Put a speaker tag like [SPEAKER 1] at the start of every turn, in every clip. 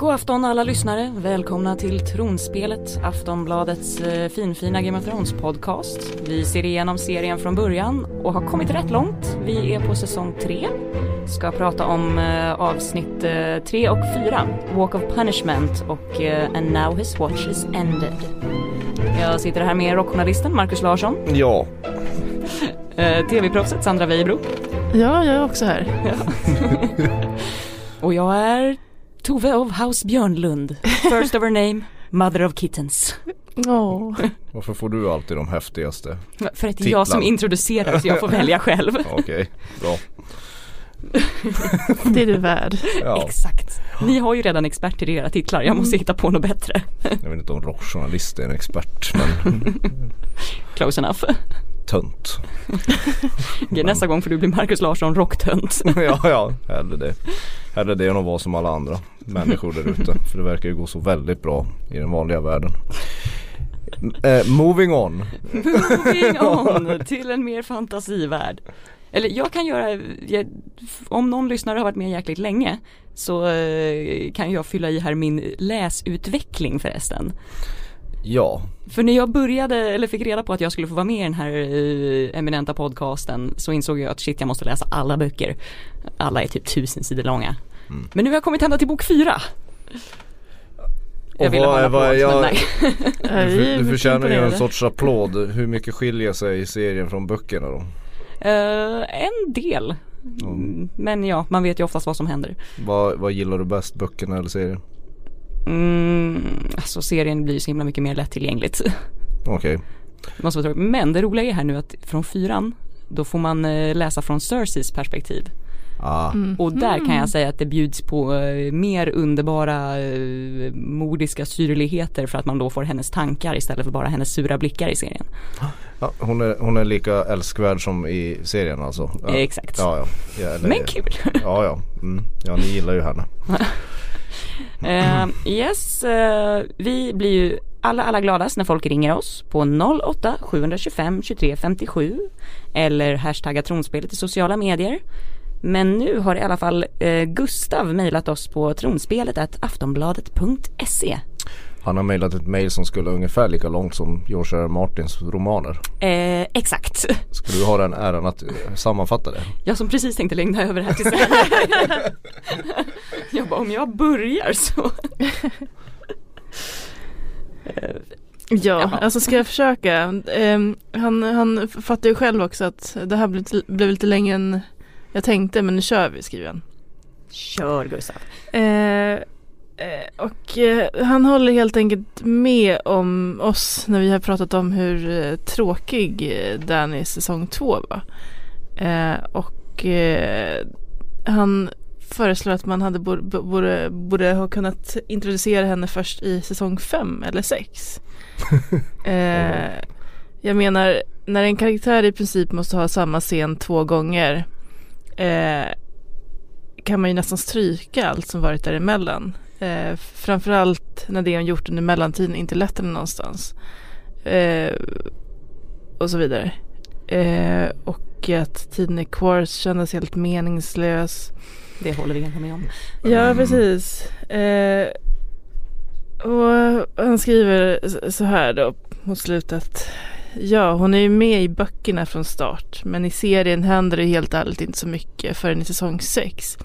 [SPEAKER 1] afton alla lyssnare. Välkomna till Tronspelet, Aftonbladets eh, finfina Game of Thrones-podcast. Vi ser igenom serien från början och har kommit rätt långt. Vi är på säsong tre. Ska prata om eh, avsnitt eh, tre och fyra. Walk of Punishment och eh, And now his watch is ended. Jag sitter här med rockjournalisten Marcus Larsson,
[SPEAKER 2] Ja,
[SPEAKER 1] eh, tv-proffset Sandra Weibro
[SPEAKER 3] Ja, jag är också här.
[SPEAKER 1] och jag är Tove of House Björnlund. First of her name, mother of kittens.
[SPEAKER 3] Ja,
[SPEAKER 2] varför får du alltid de häftigaste?
[SPEAKER 1] För att det är
[SPEAKER 2] Titlar.
[SPEAKER 1] jag som introducerar så jag får välja själv.
[SPEAKER 2] Okej, bra.
[SPEAKER 3] det är du värd.
[SPEAKER 2] Ja,
[SPEAKER 1] Exakt. Ni har ju redan experter i era titlar, jag måste hitta på något bättre.
[SPEAKER 2] jag vet inte om rockjournalist är en expert men
[SPEAKER 1] Close enough.
[SPEAKER 2] tönt.
[SPEAKER 1] Okej, nästa gång får du bli Marcus Larsson, rocktönt.
[SPEAKER 2] ja, ja, hellre det. Hellre det än att vara som alla andra människor där ute. För det verkar ju gå så väldigt bra i den vanliga världen. M- Eh, moving on.
[SPEAKER 1] Moving on till en mer fantasivärld. Eller jag kan göra, jag, om någon lyssnare har varit med jäkligt länge så eh, kan jag fylla i här min läsutveckling förresten.
[SPEAKER 2] Ja,
[SPEAKER 1] För när jag började, eller fick reda på att jag skulle få vara med i den här eh, eminenta podcasten så insåg jag att shit jag måste läsa alla böcker. Alla är typ tusen sidor långa.
[SPEAKER 2] Mm.
[SPEAKER 1] Men nu har jag kommit ända till bok fyra. Jag
[SPEAKER 2] Och
[SPEAKER 1] ville
[SPEAKER 2] vad är-
[SPEAKER 1] hålla på
[SPEAKER 2] vad är jag-
[SPEAKER 1] men nej.
[SPEAKER 3] Jag
[SPEAKER 2] du,
[SPEAKER 3] är
[SPEAKER 2] f- du förtjänar ju en
[SPEAKER 3] imponerad.
[SPEAKER 2] sorts applåd. Hur mycket skiljer sig serien från böckerna då?
[SPEAKER 1] Eh, en del.
[SPEAKER 2] Mm.
[SPEAKER 1] Men ja, man vet ju oftast vad som händer.
[SPEAKER 2] Vad, vad gillar du bäst, böckerna eller serien?
[SPEAKER 1] Mm, alltså serien blir ju så himla mycket mer lättillgängligt.
[SPEAKER 2] Okej,
[SPEAKER 1] Det Måste vara tråkigt. Men det roliga är här nu att från fyran, då får man eh, läsa från Cerseis perspektiv.
[SPEAKER 2] ah,
[SPEAKER 3] Mm.
[SPEAKER 1] Och där kan jag säga att det bjuds på eh, mer underbara eh, mordiska syrligheter för att man då får hennes tankar istället för bara hennes sura blickar i serien.
[SPEAKER 2] ja, hon, är, hon är lika älskvärd som i serien alltså? Ja.
[SPEAKER 1] Exakt.
[SPEAKER 2] Ja, ja. ja eller-
[SPEAKER 1] Men kul!
[SPEAKER 2] Ja, ja. Mm. Ja, ni gillar ju henne.
[SPEAKER 1] Eh, yes, eh, vi blir ju alla, alla gladast när folk ringer oss på 08 725 23 57 eller hashtagga tronspelet i sociala medier. Men nu har i alla fall eh, Gustav mejlat oss på tronspelet att aftonbladet.se.
[SPEAKER 2] Han har mejlat ett mejl som skulle ungefär lika långt som George R. R. Martins romaner.
[SPEAKER 1] Eh, exakt.
[SPEAKER 2] Skulle du ha den äran att eh, sammanfatta det?
[SPEAKER 1] Jag som precis tänkte längna över här till Sverige. jag bara, om jag börjar så.
[SPEAKER 3] Ja, alltså ska jag försöka. Ehm, han, han fattar ju själv också att det här blev, lite- blev lite längre än jag tänkte men nu kör vi skriver han.
[SPEAKER 1] Kör Gustav.
[SPEAKER 3] Eh, eh, och eh, han håller helt enkelt med om oss när vi har pratat om hur eh, tråkig eh, Danny säsong två var. Eh, och eh, han föreslår att man hade borde, borde, borde ha kunnat introducera henne först i säsong fem eller sex. eh, jag menar, när en karaktär i princip måste ha samma scen två gånger eh, kan man ju nästan stryka allt som varit däremellan. Eh, framförallt när det hon gjort under mellantiden inte lett henne någonstans. Eh, och så vidare. Eh, och att tiden i Quartz kändes helt meningslös.
[SPEAKER 1] Det håller vi inte med om.
[SPEAKER 3] Ja,
[SPEAKER 2] Mm.
[SPEAKER 3] precis. Eh, och han skriver s- så här då mot slutet. Ja, hon är ju med i böckerna från start. Men i serien händer det helt ärligt inte så mycket förrän i säsong 6.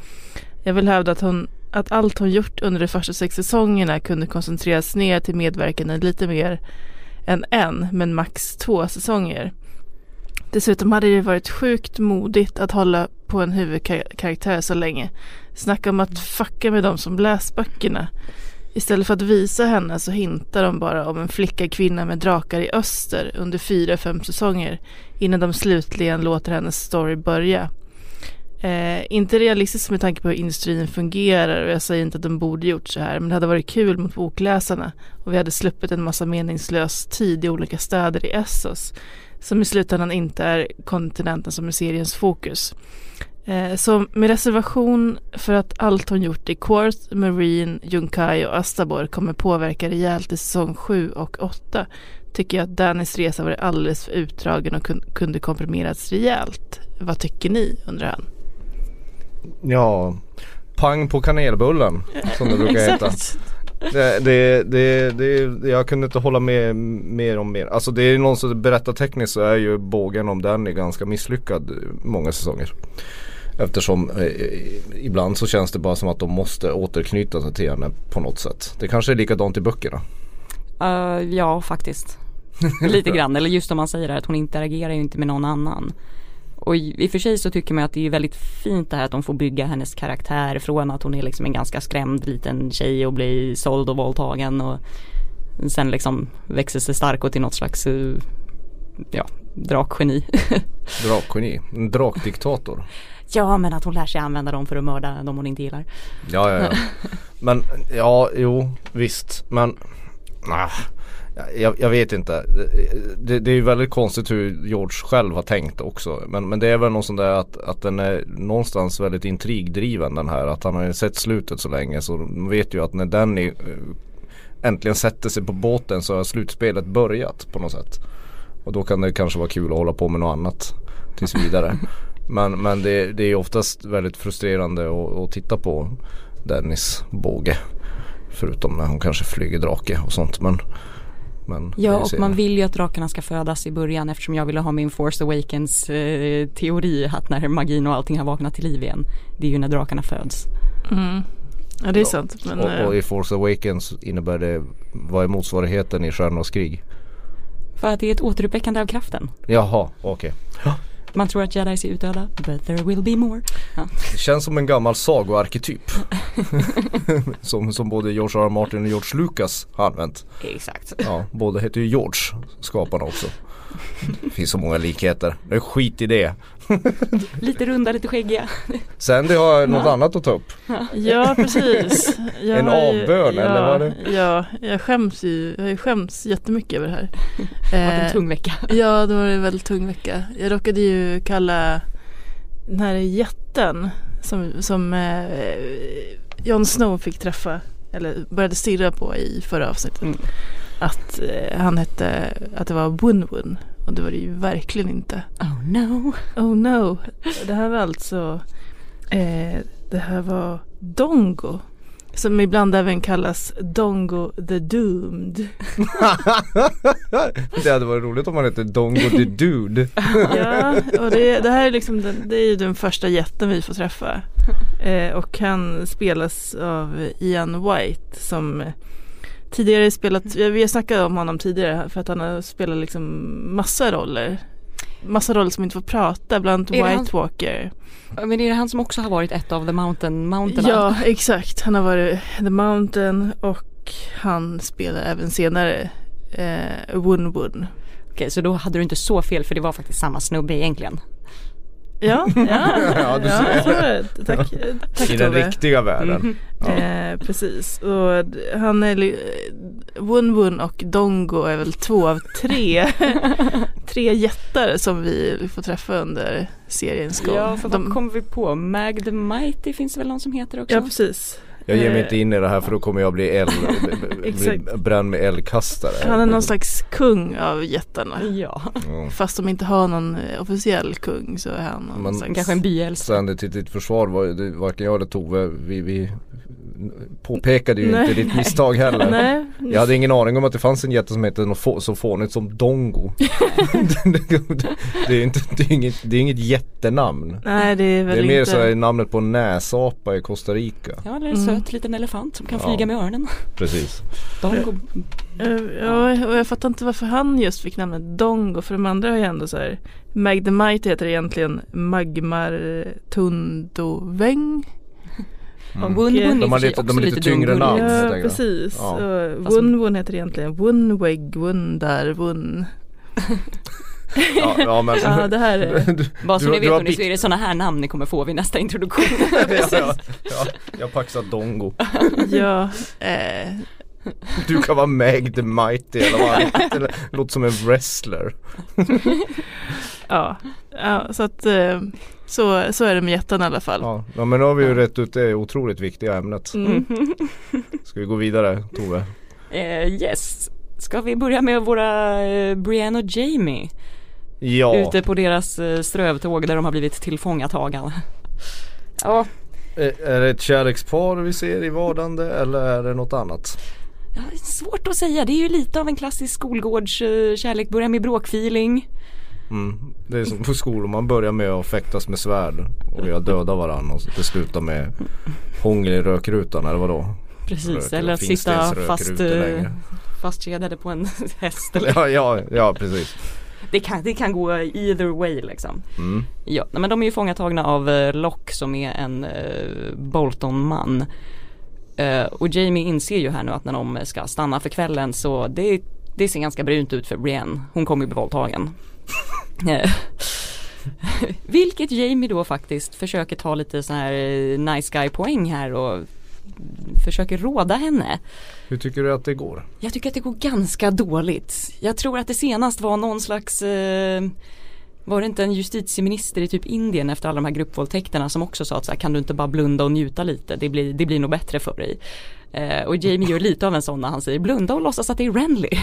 [SPEAKER 3] Jag vill hävda att, hon, att allt hon gjort under de första sex säsongerna kunde koncentreras ner till medverkan i lite mer än en, men max två säsonger. Dessutom hade det varit sjukt modigt att hålla på en huvudkaraktär så länge. Snacka om att fucka med de som läst böckerna. Istället för att visa henne så hintar de bara om en flicka kvinna med drakar i öster under fyra, fem säsonger innan de slutligen låter hennes story börja. Eh, inte realistiskt med tanke på hur industrin fungerar och jag säger inte att de borde gjort så här men det hade varit kul mot bokläsarna och vi hade sluppit en massa meningslös tid i olika städer i Essos som i slutändan inte är kontinenten som är seriens fokus. Eh, Så med reservation för att allt hon gjort i Quarth, Marine, Junkai och Astabor kommer påverka rejält i säsong 7 och 8 tycker jag att Dannys resa var alldeles för utdragen och kun- kunde komprimerats rejält. Vad tycker ni, undrar han.
[SPEAKER 2] Ja, pang på kanelbullen som det brukar heta. Det, det, det, det, jag kunde inte hålla med mer om mer. Alltså det är någon som berättar tekniskt så är ju bågen om den är ganska misslyckad många säsonger. Eftersom eh, ibland så känns det bara som att de måste återknyta sig till henne på något sätt. Det kanske är likadant i böckerna.
[SPEAKER 1] Eh, ja, faktiskt. Lite grann, eller just som man säger här, att hon interagerar ju inte med någon annan. Och i i och för sig så tycker man att det är väldigt fint det här att de får bygga hennes karaktär från att hon är liksom en ganska skrämd liten tjej och blir såld och våldtagen och sen liksom växer sig stark och till något slags eh, ja, drakgeni.
[SPEAKER 2] Drakgeni, en drakdiktator.
[SPEAKER 1] ja men att hon lär sig använda dem för att mörda dem hon inte gillar.
[SPEAKER 2] Ja, ja, ja. Men ja, jo, visst. Men nah, jag, jag vet inte. Det, det är ju väldigt konstigt hur George själv har tänkt också. Men, men det är väl någon sån där att, att den är någonstans väldigt intrigdriven den här. Att han har ju sett slutet så länge så de vet ju att när Danny eh, äntligen sätter sig på båten så har slutspelet börjat på något sätt. Och då kan det kanske vara kul att hålla på med något annat tills vidare. Men, men det, det är oftast väldigt frustrerande att, att titta på Dennis båge. Förutom när hon kanske flyger drake och sånt. Men, men
[SPEAKER 1] Ja
[SPEAKER 2] det är
[SPEAKER 1] och
[SPEAKER 2] serien.
[SPEAKER 1] man vill ju att drakarna ska födas i början eftersom jag ville ha min Force Awakens eh, teori att när magin och allting har vaknat till liv igen. Det är ju när drakarna föds.
[SPEAKER 3] Mm. Ja det är
[SPEAKER 2] Ja.
[SPEAKER 3] sant. Men,
[SPEAKER 2] och, och
[SPEAKER 3] eh,
[SPEAKER 2] i Force Awakens innebär det, vad är motsvarigheten i Stjärnornas krig?
[SPEAKER 1] För att det är ett återuppväckande av kraften.
[SPEAKER 2] Jaha, okej.
[SPEAKER 1] Man tror att jedis är utdöda, but there will be more. Ja.
[SPEAKER 2] Det känns som en gammal sagoarketyp. som, som både George R. R. Martin och George Lucas har använt.
[SPEAKER 1] Exakt.
[SPEAKER 2] Ja, båda heter ju George, skaparna också. Det finns så många likheter. Det är skit i det.
[SPEAKER 1] Lite runda, lite skäggiga.
[SPEAKER 2] Sen det har jag något annat att ta upp.
[SPEAKER 3] ja precis. Jag
[SPEAKER 2] En
[SPEAKER 3] har ju-
[SPEAKER 2] avbön,
[SPEAKER 3] ja,
[SPEAKER 2] eller vad är det?
[SPEAKER 3] Ja, jag skäms ju. Jag skäms jättemycket över det här.
[SPEAKER 1] Det har varit
[SPEAKER 3] Eh,
[SPEAKER 1] en tung vecka.
[SPEAKER 3] Ja, det var en väldigt tung vecka. Jag råkade ju kalla den här jätten som, som eh, Jon Snow fick träffa, eller började stirra på i förra avsnittet.
[SPEAKER 1] Mm.
[SPEAKER 3] Att eh, han hette, att det var Wun-Wun. Och det var det ju verkligen inte.
[SPEAKER 1] Oh no.
[SPEAKER 3] Oh no, det här var alltså, eh, det här var Dongo. Som ibland även kallas Dongo the Doomed.
[SPEAKER 2] det hade varit roligt om han hette Dongo the Dude.
[SPEAKER 3] Ja, och det, det här är liksom den, det är ju den första jätten vi får träffa. Eh, och han spelas av Ian White som tidigare spelat, vi har snackat om honom tidigare för att han har spelat liksom massa roller. Massa roller som inte får prata, bland
[SPEAKER 1] Är det
[SPEAKER 3] annat
[SPEAKER 1] han-
[SPEAKER 3] White Walker.
[SPEAKER 1] Men är det han som också har varit ett av the mountain mountaina?
[SPEAKER 3] Ja, exakt. Han har varit The Mountain och han spelar även senare eh, Wun Wun.
[SPEAKER 1] Okej, så då hade du inte så fel för det var faktiskt samma snubbe egentligen.
[SPEAKER 3] Ja, ja,
[SPEAKER 2] Ja, du ser.
[SPEAKER 3] så var det. Tack, tack
[SPEAKER 2] I den
[SPEAKER 3] Tove.
[SPEAKER 2] riktiga världen.
[SPEAKER 1] Mhm.
[SPEAKER 3] Eh, precis, och d- han är li- eh, Wun Wun och Dongo är väl två av tre Tre jättar som vi får träffa under seriens gång
[SPEAKER 1] Ja, för
[SPEAKER 3] De-
[SPEAKER 1] vad kom vi på? Mag the Mighty finns det väl någon som heter också?
[SPEAKER 3] ja precis
[SPEAKER 2] Jag ger mig
[SPEAKER 3] Eh,
[SPEAKER 2] inte in i det här för då kommer jag bli el, bli
[SPEAKER 3] Exakt.
[SPEAKER 2] bränd med eldkastare.
[SPEAKER 3] Han är någon slags kung av jättarna
[SPEAKER 1] Ja,
[SPEAKER 2] Mm.
[SPEAKER 3] Fast de inte har någon eh, officiell kung så är han någon
[SPEAKER 2] Men-
[SPEAKER 3] slags
[SPEAKER 1] kanske en byels.
[SPEAKER 2] Sen det till ditt försvar var ju- det, varken jag eller Tove, vi, vi påpekade ju
[SPEAKER 3] Nej,
[SPEAKER 2] inte ditt misstag heller.
[SPEAKER 3] Nej,
[SPEAKER 2] Jag hade ingen aning om att det fanns en jätte som hette något få, så fånigt som Dongo. det, det, det, är inte, det, är inget, det är inget jättenamn.
[SPEAKER 3] nej det är
[SPEAKER 2] Det
[SPEAKER 3] väl
[SPEAKER 2] är mer
[SPEAKER 3] inte
[SPEAKER 2] så här namnet på en näsapa i Costa Rica.
[SPEAKER 1] Ja, eller en
[SPEAKER 3] Mm.
[SPEAKER 1] söt liten elefant som kan
[SPEAKER 2] Ja.
[SPEAKER 1] flyga med Mm. öronen.
[SPEAKER 2] Precis.
[SPEAKER 1] De går...
[SPEAKER 2] Mm.
[SPEAKER 3] Eh, Ja, och jag fattar inte varför han just fick namnet Dongo för de andra har ju ändå så här Magdemite heter egentligen Magmar Tundoväng.
[SPEAKER 2] Mm.
[SPEAKER 1] Wun Wun är
[SPEAKER 2] De
[SPEAKER 1] i och för
[SPEAKER 2] har
[SPEAKER 1] sig
[SPEAKER 2] lite- de
[SPEAKER 1] också
[SPEAKER 2] har lite tyngre
[SPEAKER 1] dumgullig.
[SPEAKER 2] namn.
[SPEAKER 3] Ja,
[SPEAKER 2] tänker jag.
[SPEAKER 3] precis.
[SPEAKER 2] Ja.
[SPEAKER 3] Och
[SPEAKER 1] Fast-
[SPEAKER 3] Wun Wun heter egentligen Wunweg, Wundar, Wun.
[SPEAKER 2] Ja, ja, men,
[SPEAKER 3] Ja, det här är...
[SPEAKER 2] du,
[SPEAKER 1] Bara så
[SPEAKER 2] Du-
[SPEAKER 1] ni
[SPEAKER 2] du
[SPEAKER 1] vet
[SPEAKER 2] har
[SPEAKER 1] hörni, så
[SPEAKER 2] bikt-
[SPEAKER 1] är det sådana här namn ni kommer få vid nästa introduktion.
[SPEAKER 2] ja, ja, ja, jag paxar Dongo.
[SPEAKER 3] Ja, eh,
[SPEAKER 2] Du kan vara Meg the Mighty eller vad han heter. Eller- Låter som en wrestler.
[SPEAKER 3] ja. ja så att eh, så, så är det med jätten i alla fall.
[SPEAKER 2] Ja, ja men nu har vi ju rätt ut det otroligt viktiga ämnet.
[SPEAKER 3] Mm.
[SPEAKER 2] Ska vi gå vidare Tove?
[SPEAKER 1] Eh, yes, ska vi börja med våra eh, Brienne och Jamie
[SPEAKER 2] Ja.
[SPEAKER 1] ute på deras eh, strövtåg där de har blivit tillfångatagna. ja,
[SPEAKER 2] Är är det ett kärlekspar vi ser i vardande eller är det något annat?
[SPEAKER 1] Ja, det är svårt att säga, det är ju lite av en klassisk skolgårds eh, kärlek börjar med bråkfeeling.
[SPEAKER 2] Mm. Det är som på skolor, man börjar med att fäktas med svärd och jag dödar varandra och det slutar med hångel i rökrutan eller vadå?
[SPEAKER 1] Precis,
[SPEAKER 2] Röker-
[SPEAKER 1] eller att sitta
[SPEAKER 2] finstensröker
[SPEAKER 1] fast,
[SPEAKER 2] ute
[SPEAKER 1] eh,
[SPEAKER 2] länge.
[SPEAKER 1] fastkedjade på en häst. Eller?
[SPEAKER 2] Ja, ja, ja precis.
[SPEAKER 1] Det, kan, det kan gå either way liksom.
[SPEAKER 2] Mm.
[SPEAKER 1] Ja, nej, men de är ju fångatagna av eh, Locke som är en eh, Bolton-man. Eh, och Jamie inser ju här nu att när de ska stanna för kvällen så det, det ser ganska brunt ut för Brienne. Hon kommer ju bli våldtagen. Eh, Vilket Jamie då faktiskt försöker ta lite så här eh, nice guy poäng här och försöker råda henne.
[SPEAKER 2] Hur tycker du att det går?
[SPEAKER 1] Jag tycker att det går ganska dåligt. Jag tror att det senast var någon slags eh, var det inte en justitieminister i typ Indien efter alla de här gruppvåldtäkterna som också sa att så här, kan du inte bara blunda och njuta lite, det blir, det blir nog bättre för dig. Eh, och Jamie gör lite av en sån när han säger blunda och låtsas att det är Renly.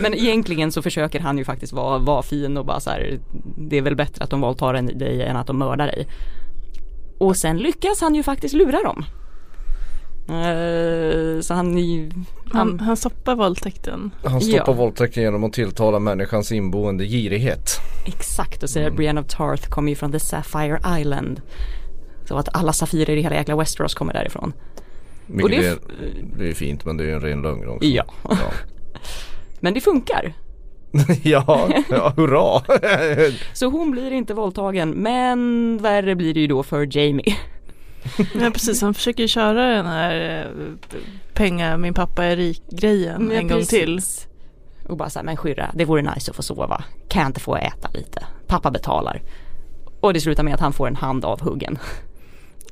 [SPEAKER 1] Men egentligen så försöker han ju faktiskt vara, vara fin och bara så här, det är väl bättre att de våldtar en- dig än att de mördar dig. Och sen lyckas han ju faktiskt lura dem. Eh, så han, är- Mm.
[SPEAKER 3] Han, han stoppar våldtäkten.
[SPEAKER 2] Han
[SPEAKER 1] Ja.
[SPEAKER 2] stoppar våldtäkten genom att tilltala människans inboende girighet.
[SPEAKER 1] Exakt och säger att Brienne of Tarth kommer ju från the Sapphire Island. Så att alla safirer i hela jäkla Westeros kommer därifrån. Och
[SPEAKER 2] Vilket
[SPEAKER 1] det
[SPEAKER 2] det...
[SPEAKER 1] är
[SPEAKER 2] Är, det är fint men det är ju en ren lögn också.
[SPEAKER 1] Ja.
[SPEAKER 2] Ja,
[SPEAKER 1] Men det funkar.
[SPEAKER 2] ja, ja hurra!
[SPEAKER 1] Så hon blir inte våldtagen men värre blir det ju då för Jamie.
[SPEAKER 3] Ja precis, han försöker ju köra den här eh, pengar min pappa är rik grejen en gång till.
[SPEAKER 1] Och bara såhär, men skyrra, det vore nice att få sova. Kan jag inte få äta lite? Pappa betalar. Och det slutar med att han får en hand avhuggen.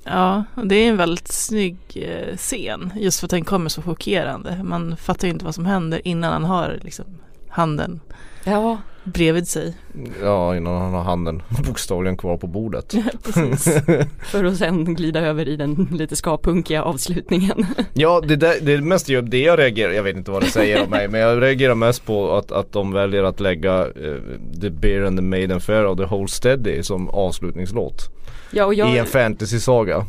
[SPEAKER 3] Ja, och det är en väldigt snygg eh, scen just för att den kommer så chockerande. Man fattar ju inte vad som händer innan han har liksom, handen
[SPEAKER 1] Ja,
[SPEAKER 3] bredvid sig.
[SPEAKER 2] Ja innan han har handen bokstavligen kvar på bordet.
[SPEAKER 3] Precis.
[SPEAKER 1] för att sen glida över i den lite skapunkiga avslutningen.
[SPEAKER 2] Ja det, där, det är mest ju det jag reagerar, jag vet inte vad det säger om mig men jag reagerar mest på att, att de väljer att lägga eh, The Beer and the Maiden Fair och The Whole Steady som avslutningslåt.
[SPEAKER 1] Ja, och jag,
[SPEAKER 2] I en fantasy-saga.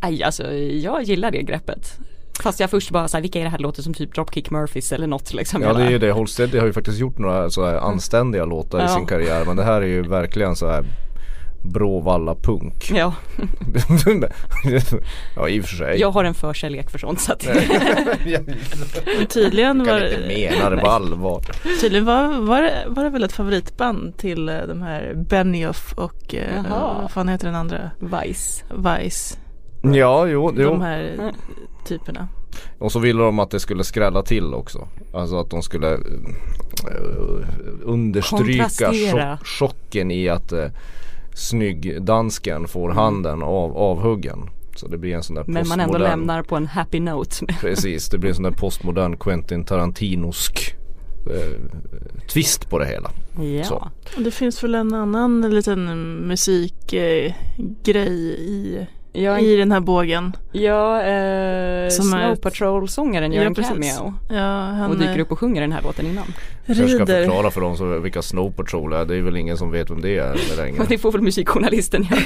[SPEAKER 1] Aj, alltså jag gillar det greppet. Fast jag först bara såhär, vilka är det här låter som typ Dropkick Murphys eller något liksom.
[SPEAKER 2] Ja
[SPEAKER 1] Jag
[SPEAKER 2] det är
[SPEAKER 1] bara,
[SPEAKER 2] ju det, Whole Steady har ju faktiskt gjort några så här anständiga låtar i
[SPEAKER 1] Ja.
[SPEAKER 2] sin karriär men det här är ju verkligen så här Bråvalla punk.
[SPEAKER 1] Ja,
[SPEAKER 2] ja i och för sig.
[SPEAKER 1] jag har en förkärlek för sånt så att
[SPEAKER 3] Och tydligen
[SPEAKER 2] Jag
[SPEAKER 3] var,
[SPEAKER 2] kan inte mena det på allvar.
[SPEAKER 3] tydligen var, var, det, var det väl ett favoritband till eh, de här Benioff och eh,
[SPEAKER 1] Jaha.
[SPEAKER 3] vad fan heter den andra?
[SPEAKER 1] Vice.
[SPEAKER 3] Vice.
[SPEAKER 2] Ja jo,
[SPEAKER 3] De
[SPEAKER 2] jo.
[SPEAKER 3] här eh, typerna.
[SPEAKER 2] Och så ville de att det skulle skrälla till också. Alltså att de skulle eh, eh, understryka
[SPEAKER 1] Kontrastera.
[SPEAKER 2] chock, chocken i att eh, snyggdansken får handen av, avhuggen. Så det blir en sån där
[SPEAKER 1] Mm. Men man ändå
[SPEAKER 2] postmodern-
[SPEAKER 1] lämnar på en happy note.
[SPEAKER 2] Precis, det blir en sån där postmodern Quentin Tarantinosk eh, twist på det hela.
[SPEAKER 1] ja.
[SPEAKER 2] Så.
[SPEAKER 3] Och Det finns väl en annan liten musikgrej eh, grej i,
[SPEAKER 1] Ja,
[SPEAKER 3] i den här bågen.
[SPEAKER 1] ja eh,
[SPEAKER 3] Som
[SPEAKER 1] Snow
[SPEAKER 3] är-
[SPEAKER 1] Patrol-sångaren gör
[SPEAKER 3] Ja,
[SPEAKER 1] en
[SPEAKER 3] precis.
[SPEAKER 1] cameo.
[SPEAKER 3] Ja, han
[SPEAKER 1] Och dyker
[SPEAKER 3] eh,
[SPEAKER 1] upp och sjunger den här låten innan.
[SPEAKER 2] Jag ska
[SPEAKER 3] rider.
[SPEAKER 2] förklara för dem så, vilka Snow Patrol är. Det är väl ingen som vet vem det är längre.
[SPEAKER 1] Men det får väl musikjournalisten göra.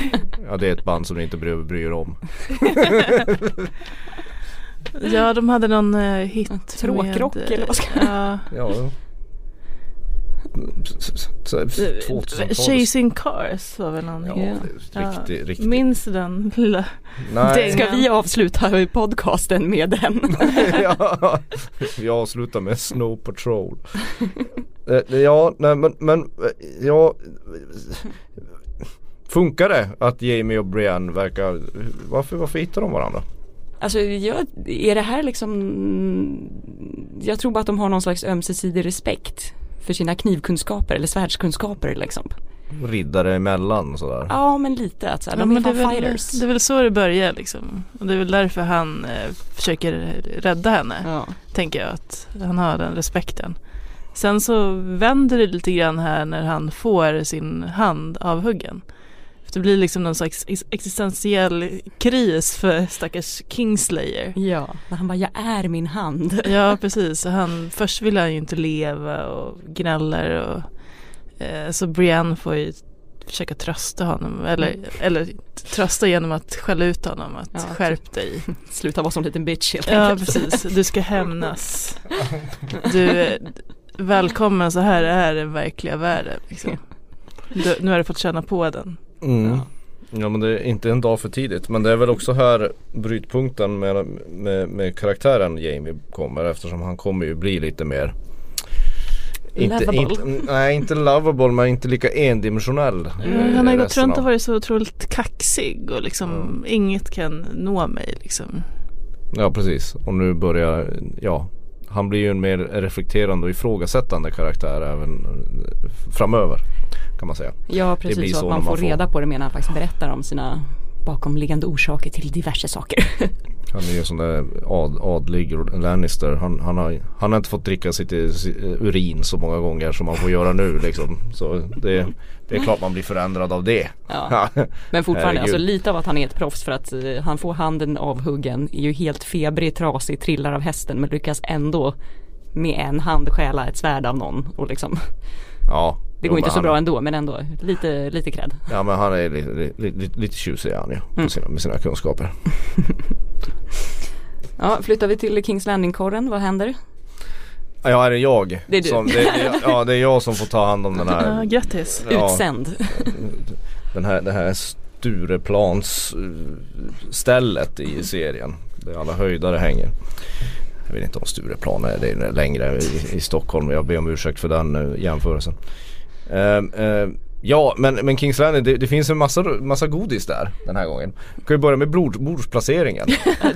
[SPEAKER 2] Ja det är ett band som ni inte bry- bryr er om.
[SPEAKER 3] Ja, de hade någon eh, hit.
[SPEAKER 1] Tråkrock
[SPEAKER 3] med, eh,
[SPEAKER 1] eller vad ska
[SPEAKER 3] ja,
[SPEAKER 2] Ja.
[SPEAKER 3] Chasing Cars var väl någon
[SPEAKER 2] Ja,
[SPEAKER 3] hit.
[SPEAKER 2] det är riktigt, riktigt.
[SPEAKER 3] Minns du den lilla?
[SPEAKER 2] Nej.
[SPEAKER 1] Ska vi avsluta podcasten med den?
[SPEAKER 2] ja. Vi avslutar med Snow Patrol. Eh, ja, nej men, men eh, ja. Funkar det att Jamie och Brienne verkar, varför, varför hittar de varandra?
[SPEAKER 1] Alltså jag, är det här liksom Jag tror bara att de har någon slags ömsesidig respekt För sina knivkunskaper eller svärdskunskaper liksom
[SPEAKER 2] Riddare emellan sådär.
[SPEAKER 1] Ja men lite att så här,
[SPEAKER 3] Ja,
[SPEAKER 1] de är
[SPEAKER 3] men det,
[SPEAKER 1] fan
[SPEAKER 3] är väl,
[SPEAKER 1] fighters
[SPEAKER 3] det är väl så det börjar liksom. Och det är väl därför han eh, försöker rädda henne.
[SPEAKER 1] ja.
[SPEAKER 3] tänker jag att han har den respekten. Sen så vänder det lite grann här när han får sin hand avhuggen. För det blir liksom någon slags ex- existentiell kris för stackars Kingslayer.
[SPEAKER 1] ja, när han bara jag är min hand
[SPEAKER 3] Ja precis, så han, först vill han ju inte leva och gnäller och eh, så Brienne får ju försöka trösta honom eller, eller trösta genom att skälla ut honom att
[SPEAKER 1] Ja, typ.
[SPEAKER 3] skärp dig.
[SPEAKER 1] Sluta vara som en liten bitch helt
[SPEAKER 3] Ja
[SPEAKER 1] enkelt.
[SPEAKER 3] precis, du ska hämnas. Du, är- välkommen så här är den verkliga världen. Liksom. Du, nu har du fått känna på den.
[SPEAKER 2] Mm.
[SPEAKER 1] Ja.
[SPEAKER 2] Ja men det är inte en dag för tidigt men det är väl också här brytpunkten med, med, med karaktären Jamie kommer eftersom han kommer ju bli lite mer
[SPEAKER 1] Lovable.
[SPEAKER 2] Inte, nej inte lovable men inte lika endimensionell.
[SPEAKER 1] Mm,
[SPEAKER 3] han har
[SPEAKER 2] i
[SPEAKER 3] gått
[SPEAKER 2] resten
[SPEAKER 3] runt och
[SPEAKER 2] av-
[SPEAKER 3] varit så otroligt kaxig och liksom inget kan nå mig liksom.
[SPEAKER 2] Ja precis och nu börjar, ja han blir ju en mer reflekterande och ifrågasättande karaktär även eh, framöver kan man säga.
[SPEAKER 1] Ja
[SPEAKER 2] blir
[SPEAKER 1] precis, så
[SPEAKER 2] så
[SPEAKER 1] att
[SPEAKER 2] när
[SPEAKER 1] man
[SPEAKER 2] man
[SPEAKER 1] får
[SPEAKER 2] får-
[SPEAKER 1] reda på det mer när han faktiskt berättar om sina bakomliggande orsaker till diverse saker.
[SPEAKER 2] Han är ju en sån där ad, adlig Lannister. Han, han, har, han har inte fått dricka sitt eh, si- eh, urin så många gånger som man får göra nu liksom. Så det, det är klart man blir förändrad av det.
[SPEAKER 1] Ja. Men fortfarande,
[SPEAKER 2] Herregud.
[SPEAKER 1] alltså lite av att han är ett proffs för att eh, han får handen avhuggen, är ju helt febrig, trasig, trillar av hästen men lyckas ändå med en hand stjäla ett svärd av någon och liksom
[SPEAKER 2] ja.
[SPEAKER 1] Det
[SPEAKER 2] Jo,
[SPEAKER 1] går inte
[SPEAKER 2] men
[SPEAKER 1] så
[SPEAKER 2] han,
[SPEAKER 1] bra ändå men ändå lite, lite cred.
[SPEAKER 2] Ja men han är lite, lite, lite, lite tjusig är han ju.
[SPEAKER 1] Mm.
[SPEAKER 2] Med, sina, med sina kunskaper.
[SPEAKER 1] Ja, flyttar vi till Kings Landing-korren, vad händer?
[SPEAKER 2] Ja är det jag?
[SPEAKER 1] Det är du.
[SPEAKER 2] Som, det, det, är- ja det är jag som får ta hand om den
[SPEAKER 3] Ja,
[SPEAKER 2] här.
[SPEAKER 3] grattis.
[SPEAKER 2] Ja,
[SPEAKER 1] Utsänd.
[SPEAKER 2] den här, det här Stureplans eh, stället i serien. Där alla höjdare hänger. Jag vet inte om Stureplan är det längre i, i Stockholm. Jag ber om ursäkt för den eh, jämförelsen. Ehm, eh, ja men, men Kings Landing det, det finns en massa, massa godis där den här gången. Vi kan ju börja med bord, bordsplaceringen.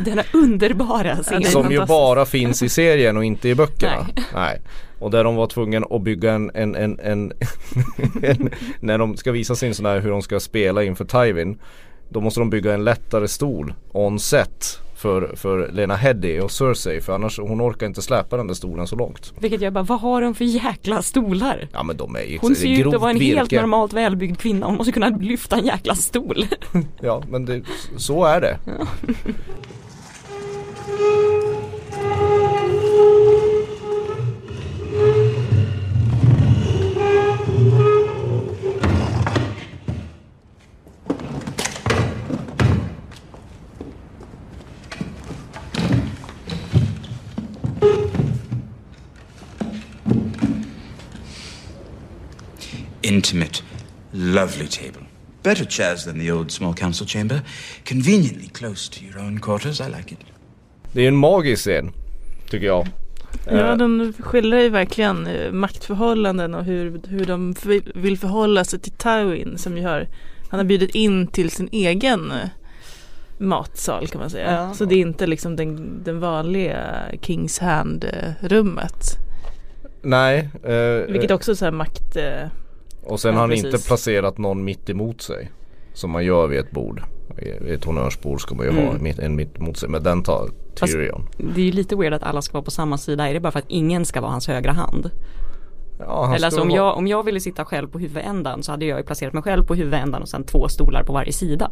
[SPEAKER 1] Denna underbara scen.
[SPEAKER 3] det är
[SPEAKER 2] Som ju
[SPEAKER 3] fantastiskt.
[SPEAKER 2] bara finns i serien och inte i böckerna. Nej. Och där de var tvungna att bygga en, en, en, en, en när de ska visa sin sån här hur de ska spela inför Tywin. Då måste de bygga en lättare stol on set för, för Lena Headey och Cersei för annars hon orkar inte släpa den där stolen så långt.
[SPEAKER 1] Vilket jag bara, vad har de för jäkla stolar?
[SPEAKER 2] Ja men de är ju
[SPEAKER 1] Hon ser ju ut
[SPEAKER 2] grovt
[SPEAKER 1] att vara en helt
[SPEAKER 2] virke.
[SPEAKER 1] normalt välbyggd kvinna, hon måste kunna lyfta en jäkla stol.
[SPEAKER 2] Ja men det, så är det.
[SPEAKER 4] Intimate, lovely table. Better chairs than the old small council chamber. Conveniently close to your own quarters. I like it.
[SPEAKER 2] Det är ju en magisk scen tycker jag.
[SPEAKER 3] Ja,
[SPEAKER 2] Eh,
[SPEAKER 3] de skildrar ju verkligen eh, maktförhållanden och hur, hur de vill- vill förhålla sig till Tywin som ju har, han har bjudit in till sin egen eh, matsal kan man säga.
[SPEAKER 1] Ja.
[SPEAKER 3] Så det är inte liksom den, den vanliga Kings Hand-rummet.
[SPEAKER 2] Nej. eh,
[SPEAKER 3] Vilket också är så här makt... eh,
[SPEAKER 2] Och sen
[SPEAKER 1] Ja,
[SPEAKER 2] har han
[SPEAKER 1] precis.
[SPEAKER 2] inte placerat någon mitt emot sig. Som man gör vid ett bord. Vid ett honnörsbord ska man ju ha
[SPEAKER 1] Mm.
[SPEAKER 2] mitt- en mitt emot sig. Men den tar Tyrion.
[SPEAKER 1] Det är ju lite weird att alla ska vara på samma sida, är det bara för att ingen ska vara hans högra hand?
[SPEAKER 2] ja, han
[SPEAKER 1] Eller alltså om
[SPEAKER 2] skulle ha-
[SPEAKER 1] jag, om jag ville sitta själv på huvudändan så hade jag ju placerat mig själv på huvudändan och sen två stolar på varje sida.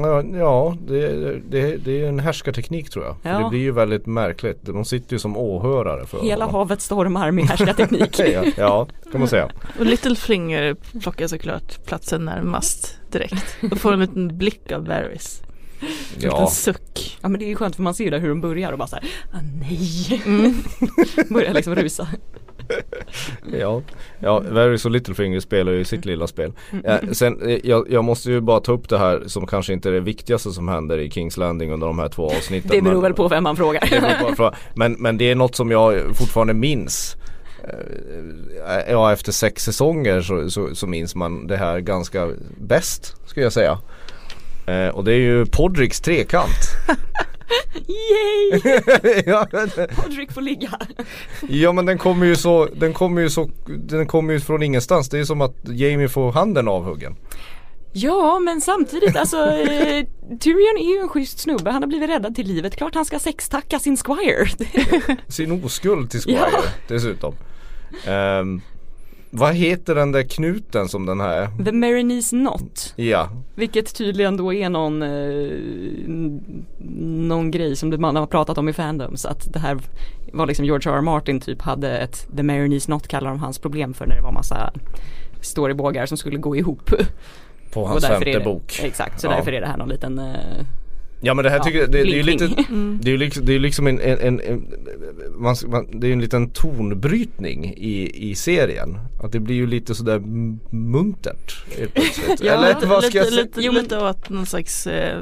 [SPEAKER 2] Ja, ja det, det, det är en härskarteknik tror jag. För
[SPEAKER 1] Ja.
[SPEAKER 2] Det blir ju väldigt märkligt. De sitter ju som åhörare för
[SPEAKER 1] Hela
[SPEAKER 2] honom.
[SPEAKER 1] havet stormar med härskarteknik.
[SPEAKER 2] Ja, ja, kan man säga.
[SPEAKER 3] Och Littlefinger plockar såklart platsen närmast direkt. Och får en liten blick av Varys. En liten
[SPEAKER 2] Ja,
[SPEAKER 3] suck.
[SPEAKER 1] Ja men det är ju skönt för man ser ju där hur de börjar och bara såhär, ah, nej. börjar liksom rusa.
[SPEAKER 2] ja. ja Varys och Littlefinger spelar ju sitt lilla spel.
[SPEAKER 1] Mm.
[SPEAKER 2] Ja, sen, eh, jag, jag måste ju bara ta upp det här som kanske inte är det viktigaste som händer i Kings Landing under de här två avsnitten.
[SPEAKER 1] Det beror
[SPEAKER 2] men-
[SPEAKER 1] väl på vem man
[SPEAKER 2] Det
[SPEAKER 1] frågar.
[SPEAKER 2] beror på- på- Men, men det är något som jag fortfarande minns. Eh, Ja, efter sex säsonger så, så, så minns man det här ganska bäst skulle jag säga. Eh, och det är ju Podricks trekant.
[SPEAKER 1] Yay!
[SPEAKER 2] ja, men-
[SPEAKER 1] Podrick får ligga.
[SPEAKER 2] ja men den kommer ju så, den kommer ju så, den kommer ju från ingenstans. Det är som att Jamie får handen avhuggen.
[SPEAKER 1] Ja men samtidigt alltså eh, Tyrion är ju en schysst snubbe, han har blivit räddad till livet. Klart han ska sextacka sin squire.
[SPEAKER 2] Sin oskuld till Squire
[SPEAKER 1] Ja.
[SPEAKER 2] dessutom. Ehm, vad heter den där knuten som den här?
[SPEAKER 1] The Marinese Knot.
[SPEAKER 2] Ja,
[SPEAKER 1] Vilket tydligen då är någon, eh, n- någon grej som man har pratat om i fandoms. Att det här var liksom George R. R. Martin typ hade ett The Marinese Knot kallar de hans problem för när det var massa står i bågar som skulle gå ihop.
[SPEAKER 2] På hans
[SPEAKER 1] därför är
[SPEAKER 2] femte
[SPEAKER 1] det,
[SPEAKER 2] bok.
[SPEAKER 1] Exakt, så
[SPEAKER 2] Ja.
[SPEAKER 1] därför är det här någon liten eh,
[SPEAKER 2] Ja men det här
[SPEAKER 1] Ja,
[SPEAKER 2] tycker jag, det, det är ju lite
[SPEAKER 1] blinkning.
[SPEAKER 2] Det är ju liksom, det är ju liksom en, en, en, en man, man, Det är ju en liten tonbrytning i, i serien Att det blir ju lite sådär m- muntert helt plötsligt.
[SPEAKER 3] Ja,
[SPEAKER 2] Eller vad ska
[SPEAKER 3] lite,
[SPEAKER 2] jag säga?
[SPEAKER 3] lite,
[SPEAKER 1] Jo, men-
[SPEAKER 3] lite åt någon slags eh,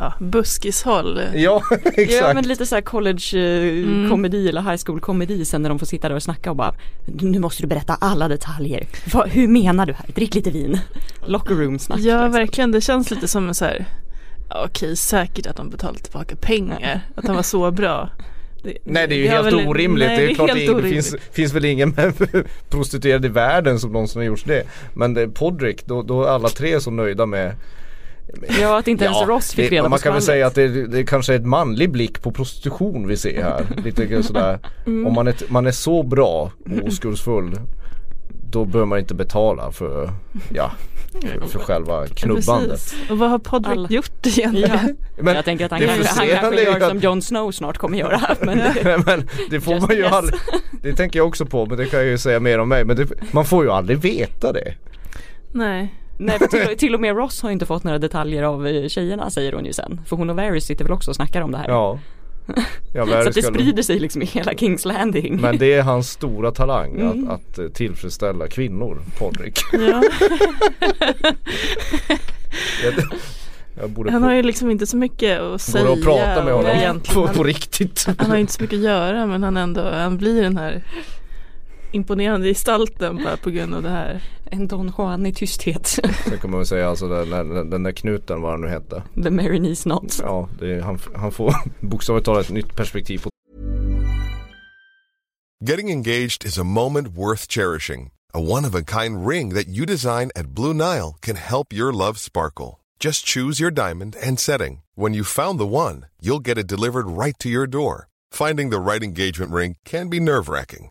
[SPEAKER 3] ja, buskishåll.
[SPEAKER 2] Ja exakt
[SPEAKER 1] Ja men lite såhär college-komedi
[SPEAKER 3] Mm.
[SPEAKER 1] eh, eller high school-komedi sen när de får sitta där och snacka och bara Nu måste du berätta alla detaljer. Va, hur menar du här? Drick lite vin. Locker room-snack.
[SPEAKER 3] Ja
[SPEAKER 1] liksom.
[SPEAKER 3] verkligen, det känns lite som en så här ja, Okej, säkert att de betalar tillbaka pengar, att han var så bra. Det-
[SPEAKER 2] Nej det är ju
[SPEAKER 3] det har
[SPEAKER 2] helt
[SPEAKER 3] väl-
[SPEAKER 2] orimligt.
[SPEAKER 3] nej,
[SPEAKER 2] det är, klart
[SPEAKER 3] helt
[SPEAKER 2] det, är- det
[SPEAKER 3] orimligt.
[SPEAKER 2] finns, finns väl ingen prostituerad i världen som någonsin har gjort det. Men det, Podrick, då, då är alla tre så nöjda med
[SPEAKER 1] Ja att inte ens Ross fick
[SPEAKER 2] det,
[SPEAKER 1] reda på
[SPEAKER 2] Man kan väl
[SPEAKER 1] skvallret.
[SPEAKER 2] säga att det, det kanske är ett manlig blick på prostitution vi ser här. Lite sådär.
[SPEAKER 1] Mm.
[SPEAKER 2] Om man är, man är så bra och oskuldsfull då behöver man inte betala för, ja, för, för själva knubbandet.
[SPEAKER 3] Precis. Och vad har Podrick
[SPEAKER 1] Alla-
[SPEAKER 3] gjort egentligen?
[SPEAKER 1] Ja.
[SPEAKER 2] Men
[SPEAKER 1] jag tänker att han
[SPEAKER 2] det
[SPEAKER 1] kanske, han
[SPEAKER 2] frustrerande
[SPEAKER 1] kanske
[SPEAKER 2] är ju
[SPEAKER 1] gör
[SPEAKER 2] att-
[SPEAKER 1] som Jon Snow snart kommer göra. Men det,
[SPEAKER 2] Nej, men det får
[SPEAKER 1] Just
[SPEAKER 2] man ju
[SPEAKER 1] yes.
[SPEAKER 2] aldrig, det tänker jag också på men det kan jag ju säga mer om mig men det, man får ju aldrig veta det.
[SPEAKER 3] Nej.
[SPEAKER 1] nej, för till, till och med Ross har ju inte fått några detaljer av eh, tjejerna säger hon ju sen. För hon och Varys sitter väl också och snackar om det här.
[SPEAKER 2] Ja. Ja,
[SPEAKER 1] Så att det
[SPEAKER 2] skulle-
[SPEAKER 1] sprider sig liksom i hela Kings Landing.
[SPEAKER 2] Men det är hans stora talang
[SPEAKER 1] Mm.
[SPEAKER 2] att, att eh, tillfredsställa kvinnor, Podrick.
[SPEAKER 3] Ja.
[SPEAKER 2] Jag, jag borde
[SPEAKER 3] Han
[SPEAKER 2] på-
[SPEAKER 3] har ju liksom inte så mycket att säga.
[SPEAKER 2] Går och prata med
[SPEAKER 3] och
[SPEAKER 2] honom
[SPEAKER 3] egentligen-
[SPEAKER 2] på, på riktigt.
[SPEAKER 3] Han har ju inte så mycket att göra men han ändå, han blir den här imponerande gestalten bara på grund av det här.
[SPEAKER 1] En Don Juan i tysthet.
[SPEAKER 2] Sen kommer man väl säga alltså den, den, den där knuten vad han nu hette.
[SPEAKER 1] The Mary Needs Not.
[SPEAKER 2] Ja, det är, han, han får bokstavligt talat ett nytt perspektiv på
[SPEAKER 5] Getting engaged is a moment worth cherishing. A one of a kind ring that you design at Blue Nile can help your love sparkle. Just choose your diamond and setting. When you've found the one, you'll get it delivered right to your door. Finding the right engagement ring can be nerve wracking.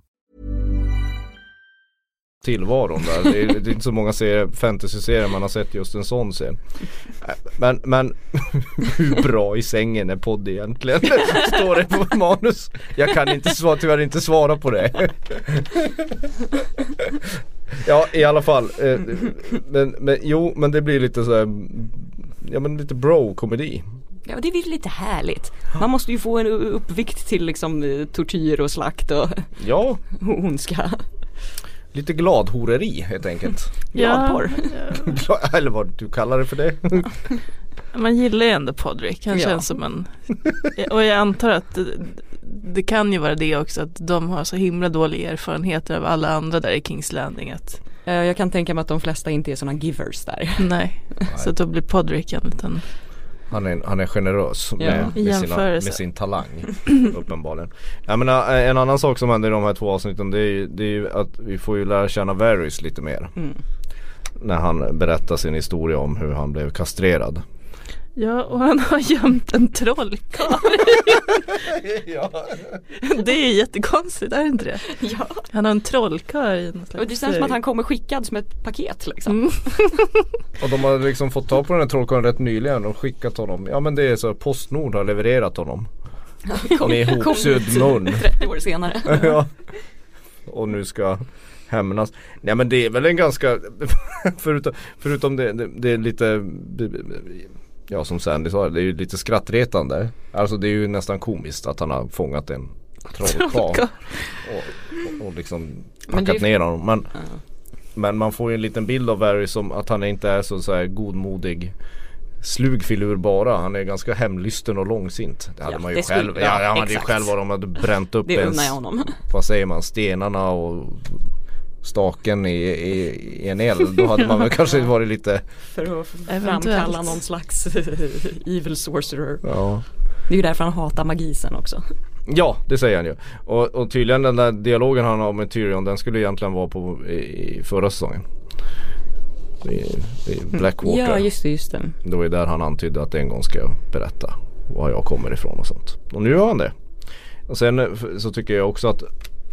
[SPEAKER 2] tillvaron där. Det är, det är inte så många serier, fantasy-serier man har sett just en sån scen. Men, men hur bra i sängen är podd egentligen? Står det på manus? Jag kan inte svara, tyvärr inte svara på det. Ja i alla fall. eh, Men, men jo men det blir lite så här, ja men lite bro-komedi.
[SPEAKER 1] Ja det är väl lite härligt. Man måste ju få en u- uppvikt till liksom eh, tortyr och slakt och
[SPEAKER 2] Ja,
[SPEAKER 1] och ondska.
[SPEAKER 2] lite gladhoreri helt enkelt.
[SPEAKER 1] Gladporr.
[SPEAKER 2] Gla- Eller vad du kallar det för det.
[SPEAKER 3] Man gillar ju ändå Podrick, han
[SPEAKER 1] Ja.
[SPEAKER 3] känns som en... Och jag antar att det, det kan ju vara det också att de har så himla dåliga erfarenheter av alla andra där i Kings Landing att
[SPEAKER 1] Eh, Jag kan tänka mig att de flesta inte är sådana givers där.
[SPEAKER 3] nej. Så då blir Podrick en liten...
[SPEAKER 2] Han är, han är generös
[SPEAKER 1] Ja,
[SPEAKER 2] med,
[SPEAKER 3] i
[SPEAKER 2] med, sina, med
[SPEAKER 3] jämförelse.
[SPEAKER 2] sin talang uppenbarligen. Jag menar, en annan sak som händer i de här två avsnitten det är ju, det är ju att vi får ju lära känna Varys lite mer.
[SPEAKER 1] Mm.
[SPEAKER 2] När han berättar sin historia om hur han blev kastrerad.
[SPEAKER 3] Ja, och han har gömt en trollkarl. Det är ju jättekonstigt, är det inte det?
[SPEAKER 1] Ja.
[SPEAKER 3] Han har en trollkarl i någon slags...
[SPEAKER 1] Och det känns som att han kommer skickad som ett paket liksom.
[SPEAKER 3] Mm.
[SPEAKER 2] Och de har liksom fått tag på den här trollkarlen rätt nyligen och skickat honom. Ja men det är så här, Postnord har levererat honom. Med ihopsydd mun.
[SPEAKER 1] 30 år senare.
[SPEAKER 2] ja. Och nu ska hämnas. Nej men det är väl en ganska, förutom, förutom det, det, det är lite, ja som Sandy sa, det är ju lite skrattretande. Alltså det är ju nästan komiskt att han har fångat en trollkarl
[SPEAKER 3] Trollkarl.
[SPEAKER 2] och, och, och liksom
[SPEAKER 1] Men
[SPEAKER 2] packat
[SPEAKER 1] det är-
[SPEAKER 2] ner honom. Men, men man får ju en liten bild av Barry som att han inte är så, så här godmodig slug filur bara. Han är ganska hemlysten och långsint. Det hade
[SPEAKER 1] Ja,
[SPEAKER 2] man ju
[SPEAKER 1] det skulle-
[SPEAKER 2] själv.
[SPEAKER 1] ja,
[SPEAKER 2] Ja, han hade ju
[SPEAKER 1] exakt.
[SPEAKER 2] själv varit om man hade bränt upp
[SPEAKER 1] Det unnar
[SPEAKER 2] ens
[SPEAKER 1] jag honom.
[SPEAKER 2] vad säger man, stenarna och staken i, i, i en eld. Då hade man väl kanske varit lite,
[SPEAKER 1] För att framkalla
[SPEAKER 3] Eventuellt.
[SPEAKER 1] någon slags evil sorcerer.
[SPEAKER 2] ja.
[SPEAKER 1] Det är ju därför han hatar magisen också.
[SPEAKER 2] Ja, det säger han ju. Och, och tydligen den där dialogen han har med Tyrion den skulle egentligen vara på i, i förra säsongen. I, i Blackwater.
[SPEAKER 1] Mm. Ja just det, just det.
[SPEAKER 2] Det var ju där han antydde att en gång ska jag berätta var jag kommer ifrån och sånt. Och nu gör han det. Och sen eh, f- så tycker jag också att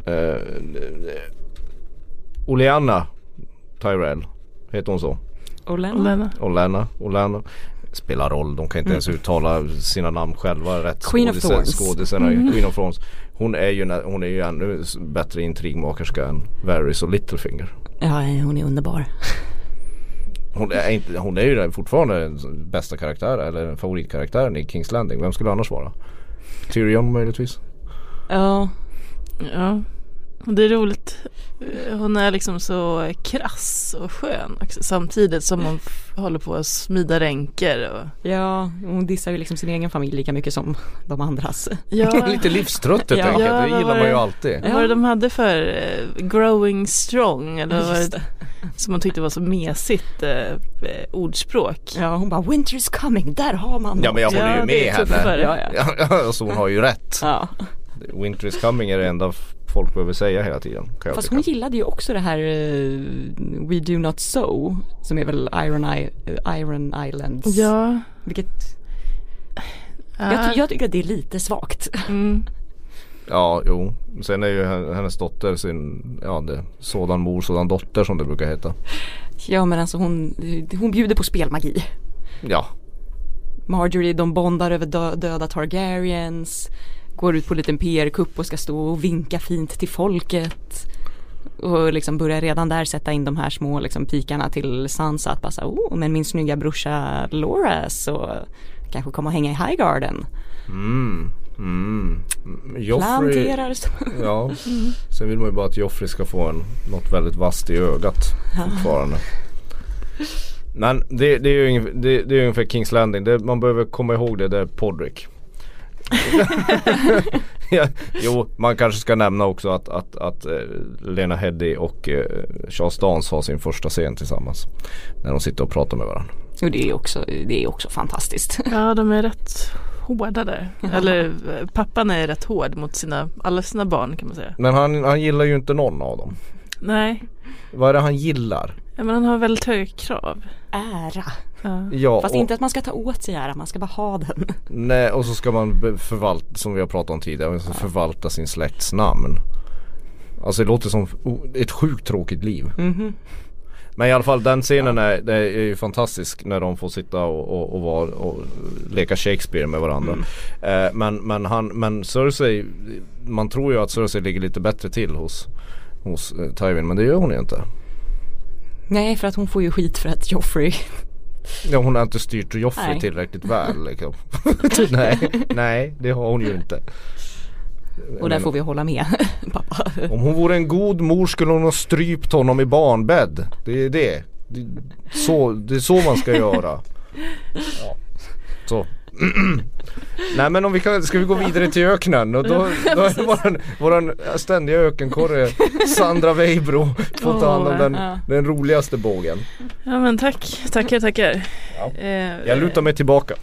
[SPEAKER 2] eh, Oleanna Tyrell. Heter hon så?
[SPEAKER 1] Och Lena.
[SPEAKER 3] Lena.
[SPEAKER 2] Olena, Olena Spelar roll, de kan inte ens uttala sina namn själva rätt
[SPEAKER 1] Mm. Queen of
[SPEAKER 2] Skådisen-
[SPEAKER 1] Thorns. Mm.
[SPEAKER 2] skådisen är ju Queen of Thorns Hon är ju, nä- hon är ju ännu s- bättre intrigmakerska än Varys och Littlefinger
[SPEAKER 1] Ja, hon är underbar.
[SPEAKER 2] Hon är, inte, hon är ju den fortfarande den bästa karaktären eller favoritkaraktären i Kings Landing Vem skulle annars vara? Tyrion möjligtvis?
[SPEAKER 1] Ja,
[SPEAKER 3] Ja. Och Det är roligt. Hon är liksom så krass och skön också, samtidigt som hon f- håller på att smida ränker. Och...
[SPEAKER 1] ja, hon dissar ju liksom sin egen familj lika mycket som de andras.
[SPEAKER 3] Ja,
[SPEAKER 2] Lite livstrött helt
[SPEAKER 1] Ja.
[SPEAKER 2] enkelt,
[SPEAKER 3] Ja,
[SPEAKER 2] det
[SPEAKER 3] vad
[SPEAKER 2] gillar
[SPEAKER 3] var
[SPEAKER 2] man ju
[SPEAKER 3] det?
[SPEAKER 2] alltid
[SPEAKER 3] vad var det de hade för eh, growing strong eller vad var
[SPEAKER 1] Just
[SPEAKER 3] det,
[SPEAKER 1] det.
[SPEAKER 3] som man tyckte var så mesigt eh, eh, ordspråk.
[SPEAKER 1] Ja, hon bara winter is coming, där har man
[SPEAKER 2] Ja men jag
[SPEAKER 3] Ja,
[SPEAKER 2] håller ju
[SPEAKER 3] det
[SPEAKER 2] med
[SPEAKER 3] är tuffare.
[SPEAKER 2] henne
[SPEAKER 1] Ja, ja.
[SPEAKER 2] ja, ja, Så hon har ju rätt
[SPEAKER 1] ja.
[SPEAKER 2] Winter is coming är det enda f- folk behöver säga hela tiden kan jag
[SPEAKER 1] Fast
[SPEAKER 2] tycka.
[SPEAKER 1] hon gillade ju också det här eh, We do not sow som är väl Iron, I- eh, Iron Islands.
[SPEAKER 3] Ja.
[SPEAKER 1] Vilket, jag,
[SPEAKER 3] ja.
[SPEAKER 1] ty- jag tycker att det är lite svagt.
[SPEAKER 3] Mm.
[SPEAKER 2] Ja, jo. Sen är ju hen- hennes dotter sin, ja det, sådan mor, sådan dotter som det brukar heta.
[SPEAKER 1] Ja men alltså hon, hon bjuder på spelmagi.
[SPEAKER 2] Ja,
[SPEAKER 1] Marjorie de bondar över dö- döda Targaryens. Går ut på en liten PR-kupp och ska stå och vinka fint till folket. Och liksom börjar redan där sätta in de här små liksom pikarna till Sansa att bara så här, oh men min snygga brorsa Laura så kanske kommer och hänga i Highgarden.
[SPEAKER 2] mm. Mm, Joffrey,
[SPEAKER 1] Planterar som-
[SPEAKER 2] ja. Sen vill man ju bara att Joffrey ska få en, något väldigt vasst i ögat fortfarande. Men det, det är ju ungefär, det, det är ungefär Kings Landing, det, man behöver komma ihåg det, det är Podrick. ja, jo, man kanske ska nämna också att, att, att eh, Lena Headey och eh, Charles Dance har sin första scen tillsammans. När de sitter och pratar med varandra.
[SPEAKER 1] Och det är också, det är också fantastiskt.
[SPEAKER 3] ja, de är rätt hårda där. Eller eh, pappan är rätt hård mot sina, alla sina barn kan man säga.
[SPEAKER 2] Men han, han gillar ju inte någon av dem.
[SPEAKER 3] Nej,
[SPEAKER 2] Vad är det han gillar?
[SPEAKER 3] ja, men han har väldigt höga krav.
[SPEAKER 1] Ära.
[SPEAKER 3] Ja.
[SPEAKER 2] Ja,
[SPEAKER 1] Fast
[SPEAKER 2] och,
[SPEAKER 1] inte att man ska ta åt sig ära, man ska bara ha den.
[SPEAKER 2] nej, och så ska man be- förvalta, som vi har pratat om tidigare, man ska förvalta sin släkts namn. Alltså det låter som o- ett sjukt tråkigt liv. Men i alla fall den scenen är, det är ju fantastisk när de får sitta och, och, och, vara, och leka Shakespeare med varandra. Eh, men, men, han, men Cersei, man tror ju att Cersei ligger lite bättre till hos, hos eh, Tywin men det gör hon ju inte.
[SPEAKER 1] Nej för att hon får ju skit för att Joffrey
[SPEAKER 2] Ja hon har inte styrt Joffrey
[SPEAKER 1] Nej.
[SPEAKER 2] tillräckligt väl liksom. nej, nej det har hon ju inte.
[SPEAKER 1] och där får vi hålla med pappa.
[SPEAKER 2] Om hon vore en god mor skulle hon ha strypt honom i barnbädd. Det är det. Det, så, det är så man ska göra. Ja. Så. Nej men om vi kan, ska vi gå vidare till öknen och då, då är våran, våran ständiga ökenkorre Sandra Weibro får ta hand om den,
[SPEAKER 1] ja.
[SPEAKER 2] den roligaste bågen.
[SPEAKER 3] Ja men tack, tackar, tackar.
[SPEAKER 2] Ja.
[SPEAKER 3] Eh,
[SPEAKER 2] Jag lutar mig tillbaka.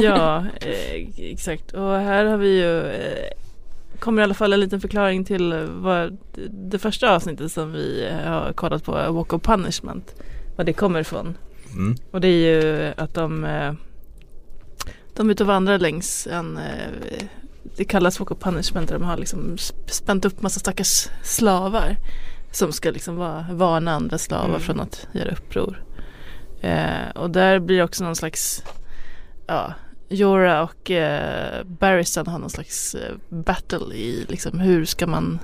[SPEAKER 3] Ja, eh, exakt. Och här har vi ju, eh, kommer i alla fall en liten förklaring till vad det första avsnittet som vi eh, har kollat på, Walk of Punishment, vad det kommer ifrån.
[SPEAKER 2] Mm.
[SPEAKER 3] Och det är ju att de, eh, de är ute och vandrar längs en, eh, det kallas Walk of Punishment där de har liksom sp- spänt upp massa stackars slavar som ska liksom va- varna andra slavar
[SPEAKER 1] Mm.
[SPEAKER 3] från att göra uppror. Eh, och där blir också någon slags, ja, Jorah och eh, Barristan har någon slags eh, battle i liksom hur ska man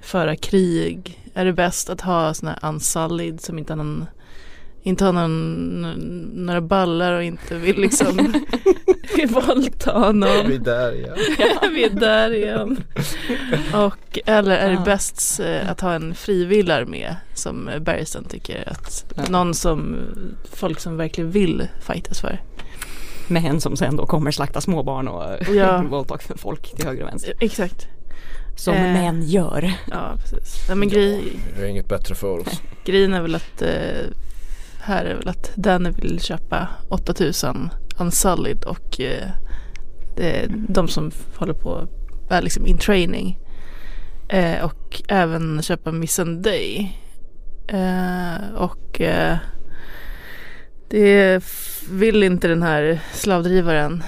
[SPEAKER 3] föra krig? Är det bäst att ha sådana här unsullied som inte har någon inte har någon, n- några ballar och inte vill liksom våldta någon.
[SPEAKER 2] Vi är där igen.
[SPEAKER 3] Vi är där igen. Och, eller är det
[SPEAKER 1] Ja.
[SPEAKER 3] bäst eh, att ha en frivillig armé som eh, Bergsten tycker att
[SPEAKER 1] Ja.
[SPEAKER 3] någon som folk som verkligen vill fightas för.
[SPEAKER 1] Med hen som sen då kommer slakta småbarn och
[SPEAKER 3] Ja.
[SPEAKER 1] våldta folk till höger och vänster.
[SPEAKER 3] Exakt.
[SPEAKER 1] Som
[SPEAKER 3] Eh.
[SPEAKER 1] män gör.
[SPEAKER 3] Ja, precis. Nej, men grej,
[SPEAKER 2] Vi har inget bättre för oss.
[SPEAKER 3] grejen är väl att eh, här är väl att Danny vill köpa 8000 Unsullied och eh, det, de som håller på är liksom in training. Eh, och även köpa Missandei. Eh, och eh, det f- vill inte den här slavdrivaren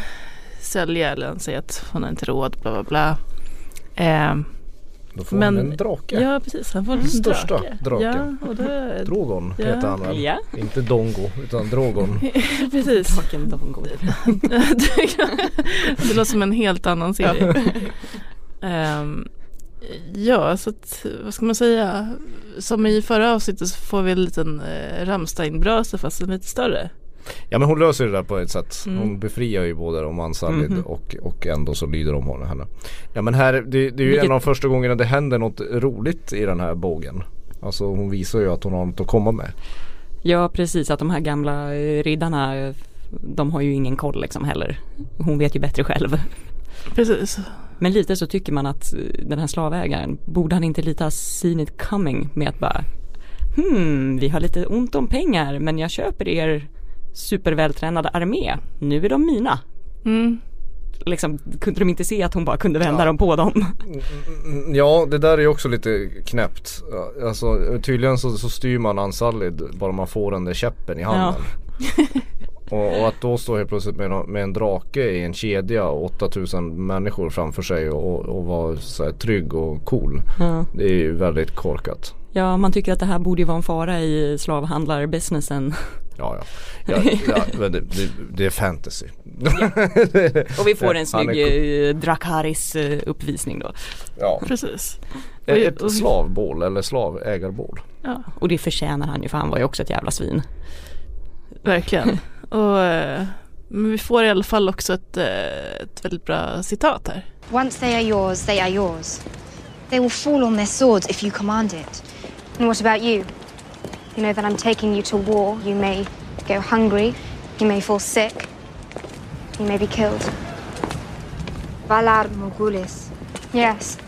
[SPEAKER 3] sälja eller säga att hon har inte råd bla bla bla. Eh,
[SPEAKER 2] Då får
[SPEAKER 3] Men-
[SPEAKER 2] han en drake. Mm.
[SPEAKER 3] Ja precis, han får en
[SPEAKER 2] Största
[SPEAKER 3] drake.
[SPEAKER 2] draken.
[SPEAKER 3] Ja, och då,
[SPEAKER 2] Drogon
[SPEAKER 3] Ja.
[SPEAKER 2] heter han väl?
[SPEAKER 1] Ja,
[SPEAKER 2] Inte Dongo utan Drogon.
[SPEAKER 3] precis.
[SPEAKER 1] draken Dongo.
[SPEAKER 3] det låter som en helt annan serie. Ehm, ja, så att, vad ska man säga? Som i förra avsnittet så får vi en liten eh, Rammstein-brasa fast en lite större.
[SPEAKER 2] Ja men hon löser det där på ett sätt.
[SPEAKER 3] Mm.
[SPEAKER 2] Hon befriar ju både dem Ansalid
[SPEAKER 1] Mhm.
[SPEAKER 2] och, och ändå så lyder de hon henne. Ja men här, det, det är ju
[SPEAKER 1] Vilket-
[SPEAKER 2] en av de första gångerna det händer något roligt i den här bågen. Alltså hon visar ju att hon har något att komma med.
[SPEAKER 1] Ja precis, att de här gamla eh, riddarna eh, de har ju ingen koll liksom heller. Hon vet ju bättre själv.
[SPEAKER 3] Precis.
[SPEAKER 1] Men lite så tycker man att eh, den här slavägaren, borde han inte lite ha seen it coming med att bara Hmm, vi har lite ont om pengar men jag köper er supervältränade armé. Nu är de mina.
[SPEAKER 3] Mm.
[SPEAKER 1] Liksom, kunde de inte se att hon bara kunde vända dem på dem?
[SPEAKER 2] Mm, Ja det där är ju också lite knäppt. Ja, Alltså tydligen så, så styr man Ansalid bara man får den där käppen i handen. och, och att då stå helt plötsligt med, nå- med en drake i en kedja och 8000 människor framför sig och, och vara så här trygg och cool.
[SPEAKER 1] Ja.
[SPEAKER 2] Det är ju väldigt korkat.
[SPEAKER 1] ja, man tycker att det här borde ju vara en fara i slavhandlarbusinessen.
[SPEAKER 2] Ja, ja. ja, ja men det, det, det är fantasy.
[SPEAKER 1] Och vi får en
[SPEAKER 2] Han är
[SPEAKER 1] snygg eh, Dracarys eh, uppvisning då.
[SPEAKER 2] Ja.
[SPEAKER 3] Precis. Och- och-
[SPEAKER 2] Ett slavbål eller slavägarbål.
[SPEAKER 3] Ja,
[SPEAKER 1] Och det förtjänar han ju för han var ju också ett jävla svin.
[SPEAKER 3] verkligen. Och, eh, men vi får i alla fall också ett, eh, ett väldigt bra citat här.
[SPEAKER 6] Once they are yours, they are yours. They will fall on their swords if you command it. And what about you? You know that I'm taking you to war. You may go hungry. You may fall sick. You may be killed. Valar Mogulis. Yes.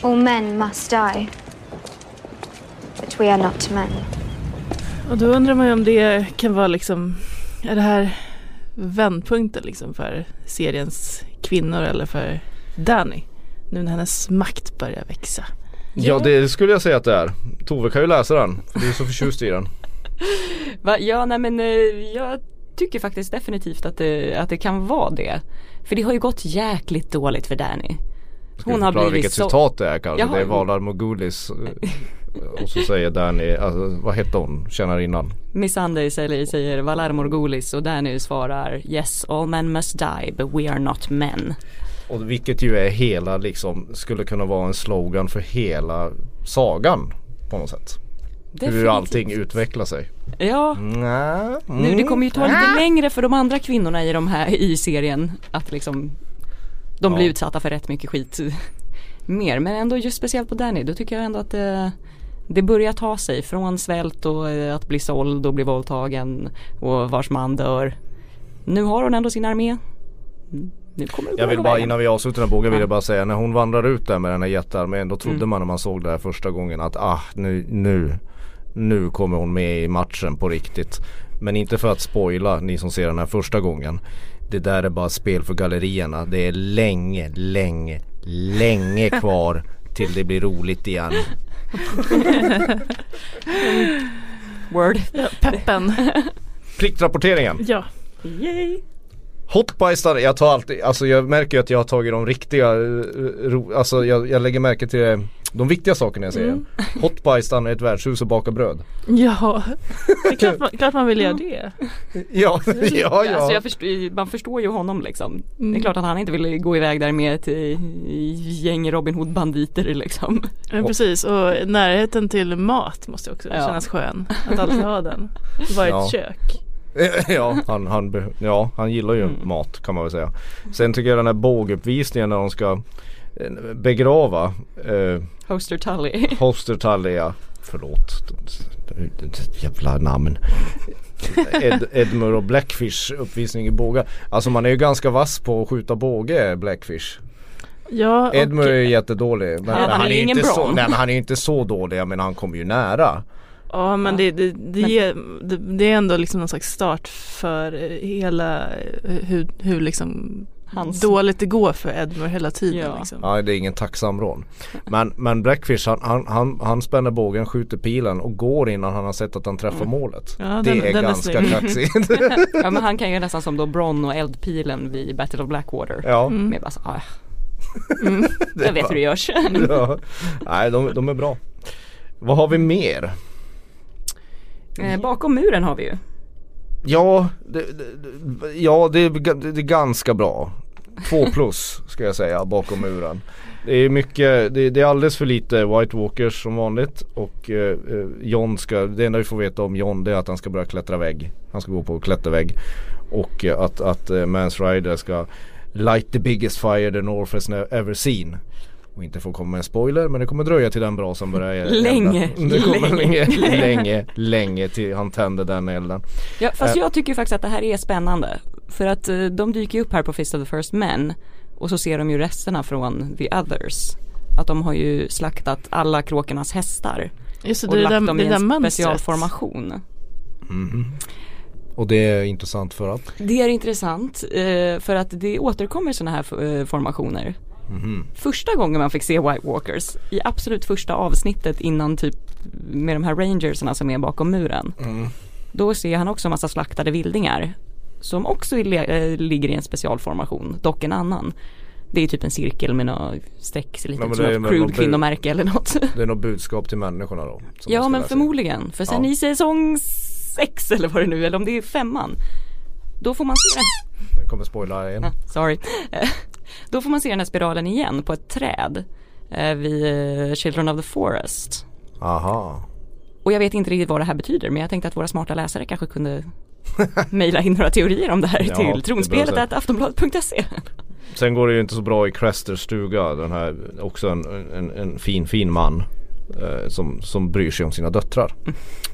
[SPEAKER 6] All men must die. But we are not men.
[SPEAKER 3] Och då undrar man ju om det kan vara liksom, är det här vändpunkten liksom för seriens kvinnor eller för Danny? Nu när hennes makt börjar växa.
[SPEAKER 2] Ja det skulle jag säga att det är. Tove kan ju läsa den. För du är så förtjust i den.
[SPEAKER 1] Va? Ja, nej men eh, jag tycker faktiskt definitivt att det, att det kan vara det. För det har ju gått jäkligt dåligt för Danny.
[SPEAKER 2] Ska vi förklara vilket citat det är kanske.
[SPEAKER 1] Jaha.
[SPEAKER 2] Det är Valar Mogulis. eh, Och så säger Danny, alltså, vad hette hon, tjänarinnan?
[SPEAKER 1] Miss Sunday säger, säger Valar Morgulis och Danny svarar Yes, all men must die, but we are not men.
[SPEAKER 2] Och vilket ju är hela liksom, skulle kunna vara en slogan för hela sagan på något sätt. Hur allting Mm. utvecklar sig.
[SPEAKER 1] Ja,
[SPEAKER 2] Nja,
[SPEAKER 1] nu
[SPEAKER 2] mm.
[SPEAKER 1] det kommer ju ta lite längre för de andra kvinnorna i de här i serien att liksom de blir
[SPEAKER 2] Ja.
[SPEAKER 1] utsatta för rätt mycket skit mer. Men ändå just speciellt på Danny, då tycker jag ändå att det, det börjar ta sig från svält och eh, att bli såld och bli våldtagen och vars man dör. Nu har hon ändå sin armé. Nu kommer det gå
[SPEAKER 2] Jag vill
[SPEAKER 1] hela
[SPEAKER 2] bara
[SPEAKER 1] vägen.
[SPEAKER 2] innan vi avslutar den här bågen vill
[SPEAKER 1] Ja.
[SPEAKER 2] jag bara säga när hon vandrar ut där med den här jättearmén då trodde
[SPEAKER 1] Mm.
[SPEAKER 2] man när man såg det här första gången att ah nu, nu, nu kommer hon med i matchen på riktigt. Men inte för att spoila ni som ser den här första gången. Det där är bara spel för gallerierna. Det är länge, länge, länge kvar till det blir roligt igen.
[SPEAKER 1] Word.
[SPEAKER 3] Peppen.
[SPEAKER 2] Pliktrapporteringen.
[SPEAKER 3] ja.
[SPEAKER 1] Yay.
[SPEAKER 2] Hotbajsare, jag tar alltid, alltså jag märker ju att jag har tagit de riktiga, eh, ro, alltså jag, jag lägger märke till eh, de viktiga sakerna jag säger. Mm. Hotbajsaren är ett värdshus och bakar bröd.
[SPEAKER 3] Ja, det är klart man, klart man vill göra det.
[SPEAKER 2] Ja, ja, ja.
[SPEAKER 1] Alltså jag förstår, man förstår ju honom liksom. Det är
[SPEAKER 3] Mm.
[SPEAKER 1] klart att han inte vill gå iväg där med ett eh, gäng Robin Hood-banditer liksom.
[SPEAKER 3] Men precis, och närheten till mat måste också
[SPEAKER 1] Ja.
[SPEAKER 3] kännas skön. Att alltid ha den. Bara ett
[SPEAKER 2] Ja.
[SPEAKER 3] kök.
[SPEAKER 2] ja, han, han, be- ja, han gillar ju
[SPEAKER 1] Mm.
[SPEAKER 2] mat kan man väl säga. Sen tycker jag den här båguppvisningen när de ska eh, begrava eh,
[SPEAKER 1] Hoster Tully.
[SPEAKER 2] Hostertalia, förlåt, jävla namn. Ed, Edmure och Blackfish uppvisning i båga. Alltså man är ju ganska vass på att skjuta båge Blackfish.
[SPEAKER 3] Ja, och,
[SPEAKER 2] Edmure är ju jättedålig. Men,
[SPEAKER 1] han är
[SPEAKER 2] ju
[SPEAKER 1] ingen
[SPEAKER 2] inte
[SPEAKER 1] bra.
[SPEAKER 2] så, nej men han är ju inte så dålig, jag menar han kommer ju nära.
[SPEAKER 3] ja men, det, det, det, ger, det, det är ändå liksom någon slags start för eh, hela eh, hur, hur liksom
[SPEAKER 1] Hans-
[SPEAKER 3] dåligt det går för Edmure hela tiden.
[SPEAKER 1] Ja.
[SPEAKER 3] Liksom.
[SPEAKER 2] Ja, det är ingen tacksam rån. Men, men Blackfish han, han, han, han spänner bågen, skjuter pilen och går innan han har sett att han träffar målet.
[SPEAKER 3] Mm. Ja,
[SPEAKER 2] det
[SPEAKER 3] den-
[SPEAKER 2] är
[SPEAKER 3] den är
[SPEAKER 2] ganska
[SPEAKER 3] snygg.
[SPEAKER 2] kaxigt.
[SPEAKER 3] Mm.
[SPEAKER 1] Ja men han kan ju nästan som då Bronn och eldpilen vid Battle of Blackwater.
[SPEAKER 2] ja.
[SPEAKER 1] Med bara så, ah,
[SPEAKER 2] Det är
[SPEAKER 1] Jag vet hur det görs.
[SPEAKER 2] ja. Nej de, de är bra. Vad har vi mer?
[SPEAKER 1] Eh, Bakom muren har vi ju.
[SPEAKER 2] Ja, det, det- det, ja det, är ga- det är ganska bra. Två plus ska jag säga bakom muren. Det är mycket, det, det är alldeles för lite White Walkers som vanligt och eh, eh, John ska, det enda vi får veta om John det är att han ska börja klättra vägg. Han ska gå på klättervägg. Och eh, att, att eh, Mans Rider ska light the biggest fire the North has ne- ever seen. Och inte får komma med en spoiler men det kommer dröja till den brasan börjar
[SPEAKER 1] Länge,
[SPEAKER 2] elda. Det kommer
[SPEAKER 1] länge.
[SPEAKER 2] länge, länge, länge till han tänder den elden.
[SPEAKER 1] Ja, fast
[SPEAKER 2] Eh.
[SPEAKER 1] jag tycker faktiskt att det här är spännande. För att eh, de dyker ju upp här på Fist of the First Men och så ser de ju resterna från The Others. Att de har ju slaktat alla kråkornas hästar
[SPEAKER 3] Just det,
[SPEAKER 1] och
[SPEAKER 3] det
[SPEAKER 1] lagt
[SPEAKER 3] är
[SPEAKER 1] dem i
[SPEAKER 3] det där
[SPEAKER 1] en
[SPEAKER 3] mönstret.
[SPEAKER 1] specialformation.
[SPEAKER 2] Och det är intressant för att
[SPEAKER 1] Det är intressant eh, för att det återkommer sådana här f- eh, formationer.
[SPEAKER 2] Mhm.
[SPEAKER 1] Första gången man fick se White Walkers i absolut första avsnittet innan typ med de här rangerserna som är bakom muren.
[SPEAKER 2] Mm.
[SPEAKER 1] Då ser han också en massa slaktade vildingar som också är le- eh, ligger i en specialformation, dock en annan. Det är typ en cirkel med några streck, ser lite
[SPEAKER 2] Ja, men
[SPEAKER 1] ut som
[SPEAKER 2] det är
[SPEAKER 1] ett
[SPEAKER 2] väl något
[SPEAKER 1] crude
[SPEAKER 2] bu-
[SPEAKER 1] kvinnomärke eller något.
[SPEAKER 2] det är något budskap till människorna då. som man
[SPEAKER 1] Ja
[SPEAKER 2] ska
[SPEAKER 1] men
[SPEAKER 2] läsa.
[SPEAKER 1] förmodligen, för sen
[SPEAKER 2] Ja.
[SPEAKER 1] i säsong sex eller vad det nu är, eller om det är femman. Då får man se den
[SPEAKER 2] Jag kommer spoila igen.
[SPEAKER 1] Ah, Sorry. Eh, Då får man se den här spiralen igen på ett träd eh, vid eh, Children of the Forest.
[SPEAKER 2] Aha.
[SPEAKER 1] Och jag vet inte riktigt vad det här betyder men jag tänkte att våra smarta läsare kanske kunde mejla in några teorier om det här
[SPEAKER 2] Ja, det
[SPEAKER 1] till
[SPEAKER 2] är
[SPEAKER 1] tronspelet
[SPEAKER 2] bra
[SPEAKER 1] att aftonbladet.se.
[SPEAKER 2] Sen går det ju inte så bra i Cresters stuga. Den här, också en, en, en fin fin man. Eh, som, som bryr sig om sina döttrar.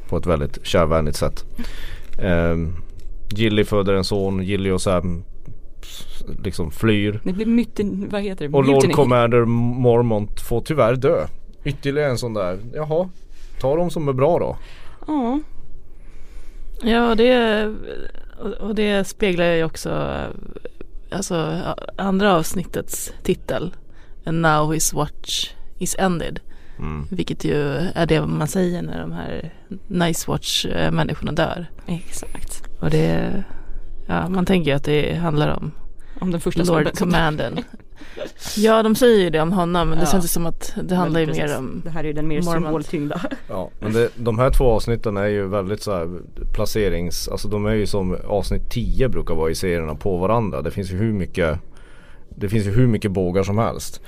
[SPEAKER 2] På ett väldigt kärvänligt sätt. Eh, Gilly föder en son. Gilly och Sam s- liksom flyr.
[SPEAKER 1] Det blir myten, vad heter det?
[SPEAKER 2] Och Lord
[SPEAKER 1] Mutiny.
[SPEAKER 2] Commander Mormont får tyvärr dö. Ytterligare en sån där. Jaha. Ta de som är bra då.
[SPEAKER 1] Ja,
[SPEAKER 3] Ja, det, och- och det speglar ju också alltså, a- andra avsnittets titel. And now his watch is ended. Vilket ju är det man säger när de här nice watch eh, människorna dör.
[SPEAKER 1] exakt.
[SPEAKER 3] Och det, ja, man tänker ju att det handlar om
[SPEAKER 1] Om den första
[SPEAKER 3] Lord
[SPEAKER 1] snubben
[SPEAKER 3] Commanden. Ja, de säger ju det om honom, men det
[SPEAKER 1] Ja.
[SPEAKER 3] känns ju som att det handlar ju
[SPEAKER 1] Men precis,
[SPEAKER 3] mer om
[SPEAKER 1] Det här är den mer
[SPEAKER 3] Mormont.
[SPEAKER 1] symboltyngda.
[SPEAKER 2] Ja, men det, de här två avsnitten är ju väldigt så här placerings, alltså de är ju som avsnitt 10 brukar vara i serierna på varandra. Det finns ju hur mycket, det finns ju hur mycket bågar som helst.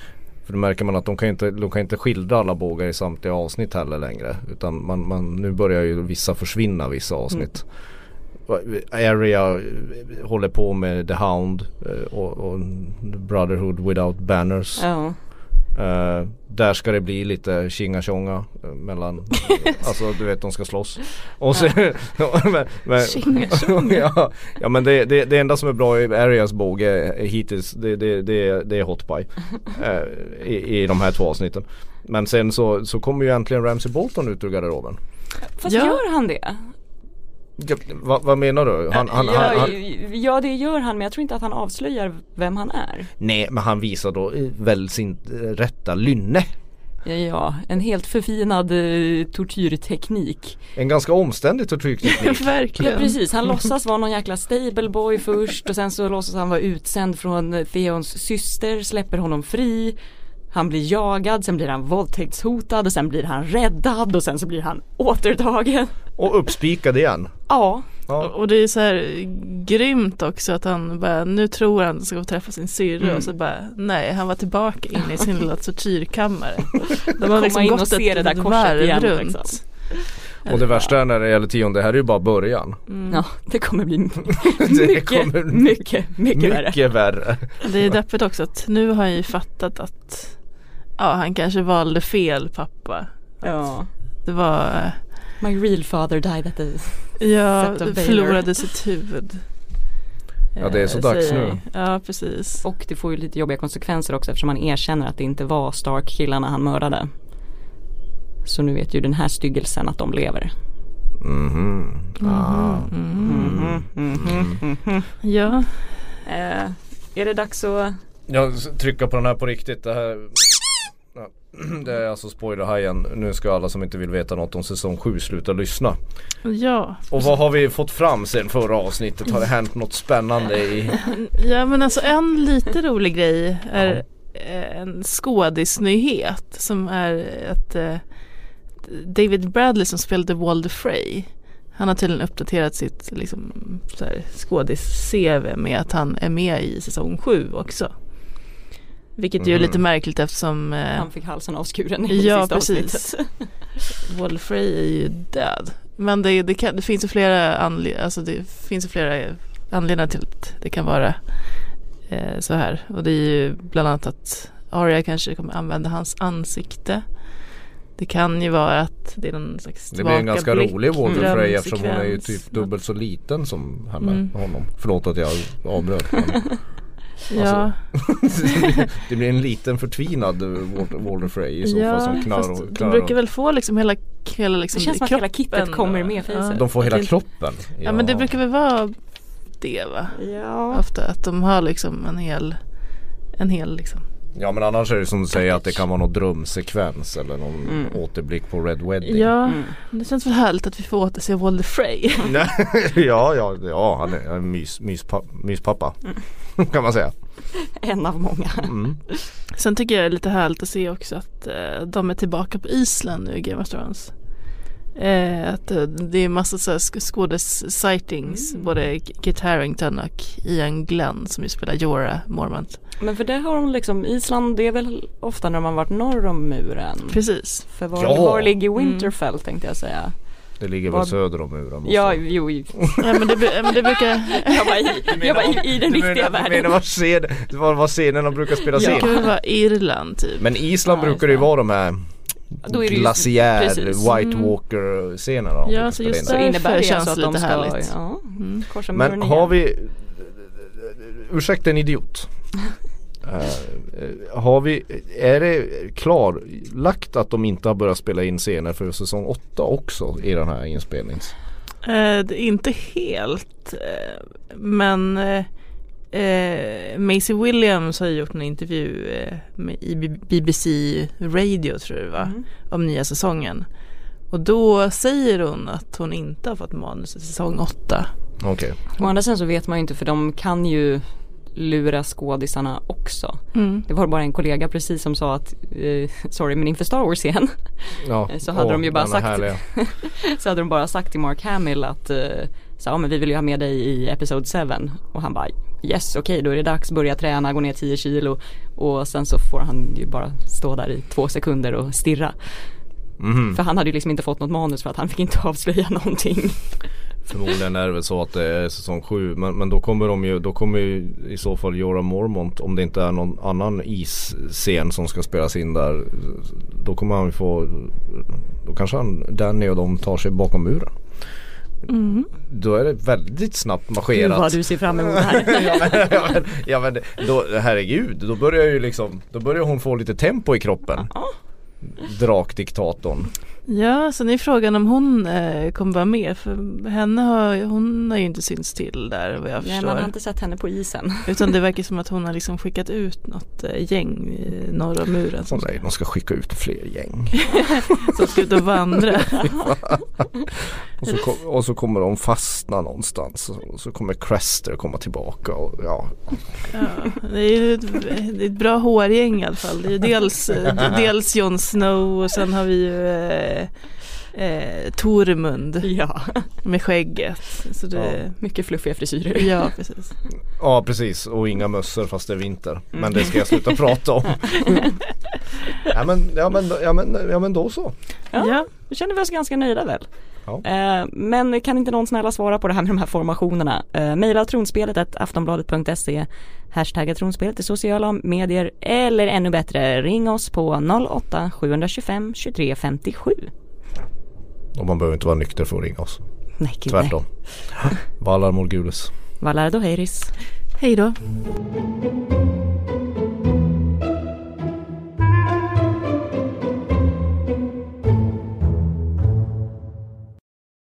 [SPEAKER 2] För då märker man att de kan inte, de kan inte skildra alla bågar i samtliga avsnitt heller längre. Utan man, man, nu börjar ju vissa försvinna, vissa avsnitt. Area eh, håller på med The Hound eh, och, och Brotherhood Without Banners.
[SPEAKER 1] Ja.
[SPEAKER 2] Eh, där ska det bli lite tjinga tjonga eh, mellan, alltså du vet de ska slåss. Och så, men, men, ja, ja men det, det, det enda som är bra i Arias båge är hittills det, det, det, det är Hot Pie eh, i, i de här två avsnitten. Men sen så, så kommer ju äntligen Ramsey Bolton ut ur garderoben.
[SPEAKER 1] Fast
[SPEAKER 3] Ja.
[SPEAKER 1] gör han det?
[SPEAKER 2] Ja, vad, vad menar du? Han, han, han,
[SPEAKER 1] ja,
[SPEAKER 2] han,
[SPEAKER 1] ja det gör han men jag tror inte att han avslöjar vem han är.
[SPEAKER 2] nej men han visar då eh, väl sin eh, rätta lynne.
[SPEAKER 1] Ja, Ja, en helt förfinad eh, tortyrteknik.
[SPEAKER 2] En ganska omständig tortyrteknik.
[SPEAKER 1] Ja,
[SPEAKER 3] Verkligen.
[SPEAKER 1] precis, han låtsas vara någon jäkla stableboy först och sen så låtsas han vara utsänd från eh, Theons syster, släpper honom fri. Han blir jagad, sen blir han våldtäktshotad och sen blir han räddad och sen så blir han återtagen.
[SPEAKER 2] Och uppspikad igen.
[SPEAKER 1] Ja,
[SPEAKER 2] Ja.
[SPEAKER 3] Och det är så här grymt också att han bara, nu tror han att han ska få träffa sin syrra
[SPEAKER 1] Mm.
[SPEAKER 3] och så bara, nej han var tillbaka inne i sin lilla tortyrkammare. De har liksom
[SPEAKER 1] in liksom och se det där korset
[SPEAKER 3] varv
[SPEAKER 1] igen, liksom.
[SPEAKER 2] Och det värsta är när det gäller tion, det här är ju bara början.
[SPEAKER 3] Mm.
[SPEAKER 1] ja det kommer bli
[SPEAKER 2] Det
[SPEAKER 1] mycket,
[SPEAKER 2] kommer-
[SPEAKER 1] mycket, mycket, värre.
[SPEAKER 2] Mycket värre.
[SPEAKER 3] Det är deppigt också att nu har han ju fattat att, ja han kanske valde fel pappa.
[SPEAKER 1] Ja.
[SPEAKER 3] Det var,
[SPEAKER 1] My real father died at the...
[SPEAKER 3] ja,
[SPEAKER 1] Set of Baylor.
[SPEAKER 3] förlorade sitt huvud.
[SPEAKER 2] Ja, det är så
[SPEAKER 3] Eh,
[SPEAKER 2] dags
[SPEAKER 3] säger-
[SPEAKER 2] nu.
[SPEAKER 3] Ja precis.
[SPEAKER 1] Och det får ju lite jobbiga konsekvenser också eftersom han erkänner att det inte var Stark-killarna han mördade. Så nu vet ju den här styggelsen att de lever.
[SPEAKER 3] Ja,
[SPEAKER 1] Eh, är det dags att...
[SPEAKER 2] Jag s- trycker på den här på riktigt. Det här... Ja. Det är alltså spoilerhajen. Nu ska alla som inte vill veta något om säsong 7 sluta lyssna.
[SPEAKER 3] ja.
[SPEAKER 2] Och vad har vi fått fram sen förra avsnittet? Har det hänt något spännande i...
[SPEAKER 3] Ja men alltså en lite rolig grej är eh, en skådisnyhet som är att eh, David Bradley som spelade Walder Frey han har tydligen uppdaterat sitt liksom, så här, skådis-CV med att han är med i säsong 7 också. Vilket ju är lite
[SPEAKER 2] Mm.
[SPEAKER 3] märkligt eftersom eh,
[SPEAKER 1] Han fick halsen avskuren i
[SPEAKER 3] Ja,
[SPEAKER 1] sista
[SPEAKER 3] precis.
[SPEAKER 1] avsnittet.
[SPEAKER 3] Walder Frey är ju död. Men det, det, kan, det finns ju flera, anle- alltså det finns ju flera anledningar till att det kan vara eh, så här. Och det är ju bland annat att Arya kanske kommer använda hans ansikte. Det kan ju vara att det är någon slags
[SPEAKER 2] Det blir en ganska
[SPEAKER 3] tillbakablick,
[SPEAKER 2] rolig Walter Frey eftersom hon är ju
[SPEAKER 3] drömsekvens,
[SPEAKER 2] typ
[SPEAKER 3] något.
[SPEAKER 2] dubbelt så liten som henne,
[SPEAKER 3] Mm.
[SPEAKER 2] honom. Förlåt att jag avbröt. Men alltså,
[SPEAKER 3] Ja,
[SPEAKER 2] det blir en liten förtvinad Walter, Walter Frey i så
[SPEAKER 3] ja
[SPEAKER 2] fall som knar
[SPEAKER 3] fast
[SPEAKER 2] och
[SPEAKER 3] de
[SPEAKER 2] knar
[SPEAKER 3] brukar
[SPEAKER 2] runt.
[SPEAKER 3] väl få liksom hela, hela liksom
[SPEAKER 1] Det känns som att hela
[SPEAKER 3] kroppen
[SPEAKER 1] kittet kommer
[SPEAKER 3] och-
[SPEAKER 1] med facet.
[SPEAKER 2] De får hela
[SPEAKER 3] Det-
[SPEAKER 2] kroppen.
[SPEAKER 3] Ja men det brukar väl vara det va?
[SPEAKER 1] ja.
[SPEAKER 3] ofta att de har liksom en hel, en hel liksom.
[SPEAKER 2] Ja men annars är det som du säger att det kan vara någon drömsekvens eller någon
[SPEAKER 1] Mm.
[SPEAKER 2] återblick på Red Wedding.
[SPEAKER 3] Ja,
[SPEAKER 1] Mm.
[SPEAKER 3] det känns väl härligt att vi får återse Walder Frey.
[SPEAKER 2] Nej, ja, ja, ja han är en mys, myspa, myspappa
[SPEAKER 1] Mm.
[SPEAKER 2] kan man säga.
[SPEAKER 1] En av många.
[SPEAKER 2] Mm.
[SPEAKER 3] Sen tycker jag det är lite härligt att se också att eh, de är tillbaka på Island nu i Game of Thrones. Eh, att eh, det är massa så här sk- skådis-sightings, både Kit Harington och Ian Glenn som ju spelar Jorah Mormont.
[SPEAKER 1] Men för det har de liksom, Island det är väl ofta när man varit norr om muren.
[SPEAKER 3] Precis.
[SPEAKER 1] För var,
[SPEAKER 2] Ja.
[SPEAKER 1] var ligger Winterfell tänkte jag säga.
[SPEAKER 2] Det ligger
[SPEAKER 1] Vad-
[SPEAKER 2] väl söder om muren. måste
[SPEAKER 1] Ja,
[SPEAKER 2] jag-
[SPEAKER 1] jo, i-
[SPEAKER 3] Ja, men det, bru- men det brukar,
[SPEAKER 1] jag bara, i, jag bara i, i den
[SPEAKER 2] Du menar-
[SPEAKER 1] riktiga
[SPEAKER 2] Du menar
[SPEAKER 1] världen.
[SPEAKER 2] vad scen, vad, vad scenerna brukar spelas
[SPEAKER 3] det
[SPEAKER 2] in?
[SPEAKER 3] brukar väl vara Irland typ.
[SPEAKER 2] Men Island
[SPEAKER 1] Ja, just
[SPEAKER 2] brukar det ju
[SPEAKER 1] det.
[SPEAKER 2] vara de här
[SPEAKER 1] Då är det ju-
[SPEAKER 2] glaciär,
[SPEAKER 1] precis. Mm.
[SPEAKER 2] White Walker scenerna de
[SPEAKER 3] Ja,
[SPEAKER 2] brukar
[SPEAKER 3] så
[SPEAKER 2] spela
[SPEAKER 3] just
[SPEAKER 2] in
[SPEAKER 3] det.
[SPEAKER 2] där.
[SPEAKER 1] Så innebär det
[SPEAKER 3] Därför känns
[SPEAKER 1] alltså att de
[SPEAKER 3] lite
[SPEAKER 1] ska
[SPEAKER 3] härligt.
[SPEAKER 1] ja,
[SPEAKER 3] Mm.
[SPEAKER 1] korsa
[SPEAKER 2] Men
[SPEAKER 1] muren
[SPEAKER 2] har
[SPEAKER 1] igen.
[SPEAKER 2] vi, ursäkta en idiot. Eh, eh, har vi, är det klarlagt att de inte har börjat spela in scener för säsong 8 också i den här inspelnings?
[SPEAKER 3] Eh, det är inte helt, eh, men eh, eh, Maisie Williams har ju gjort en intervju eh, med, i B- BBC Radio tror jag det var, om nya säsongen. Och då säger hon att hon inte har fått manus i säsong åtta.
[SPEAKER 2] Okej,
[SPEAKER 1] Å andra sidan så vet man ju inte för de kan ju lura skådisarna också. Det var bara en kollega precis som sa att, eh, sorry men inför Star Wars igen
[SPEAKER 2] ja.
[SPEAKER 1] Eh, Så hade
[SPEAKER 2] Åh,
[SPEAKER 1] de ju bara
[SPEAKER 2] denna
[SPEAKER 1] sagt-
[SPEAKER 2] härliga.
[SPEAKER 1] så hade de bara sagt till Mark Hamill att eh, så, ja, men vi vill ju ha med dig i Episode 7 och han bara yes okej då är det dags börja träna gå ner 10 kilo och sen så får han ju bara stå där i två sekunder och stirra.
[SPEAKER 2] Mhm.
[SPEAKER 1] För han hade ju liksom inte fått något manus för att han fick inte avslöja någonting.
[SPEAKER 2] Förmodligen är det väl så att det är säsong 7 men, men då kommer de ju, då kommer ju i så fall Jorah Mormont om det inte är någon annan isscen som ska spelas in där Då kommer han ju få, då kanske han, Danny och de tar sig bakom muren Då är det väldigt snabbt
[SPEAKER 1] Mm. Gud vad
[SPEAKER 2] marscherat
[SPEAKER 1] du ser fram emot här.
[SPEAKER 2] ja, men, ja, men, ja men då, herregud, då börjar ju liksom, då börjar hon få lite tempo i kroppen Drakdiktatorn
[SPEAKER 3] Ja, sen är frågan om hon eh, kommer vara med för henne har, hon har ju inte synts till där vad jag
[SPEAKER 1] Nej
[SPEAKER 3] förstår.
[SPEAKER 1] man har inte sett henne på isen.
[SPEAKER 3] Utan det verkar som att hon har liksom skickat ut något eh, gäng eh, norr om muren som
[SPEAKER 2] Åh nej, de ska skicka ut fler gäng
[SPEAKER 3] som ska ut och vandra.
[SPEAKER 2] Och så, kom, och så kommer de fastna någonstans och så kommer Crester komma tillbaka och ja.
[SPEAKER 3] Det är ju ett, det är ett bra hårgäng i alla fall. Det är ju dels, eh, dels Jon Snow och sen har vi ju eh, eh, Tormund
[SPEAKER 1] Ja,
[SPEAKER 3] med skägget. Så det,
[SPEAKER 1] mycket fluffiga frisyrer.
[SPEAKER 3] ja. precis.
[SPEAKER 2] Ja precis och inga mössor fast det är vinter. Men det ska jag sluta prata om. ja, men, ja, men, ja, men, ja men då så.
[SPEAKER 1] Ja.
[SPEAKER 3] Ja.
[SPEAKER 1] Då känner vi oss ganska nöjda väl?
[SPEAKER 2] Ja.
[SPEAKER 1] Eh, men kan inte någon snälla svara på det här med de här formationerna? Eh, Mejla tronspelet aftonbladet.se Hashtagga tronspelet i sociala medier eller ännu bättre ring oss på 08 725 23 57.
[SPEAKER 2] Och man behöver inte vara nykter för att ringa oss.
[SPEAKER 1] Nej gud nej.
[SPEAKER 2] Tvärtom. Valar Morgulis.
[SPEAKER 1] Valardo Heiris.
[SPEAKER 3] Hej då.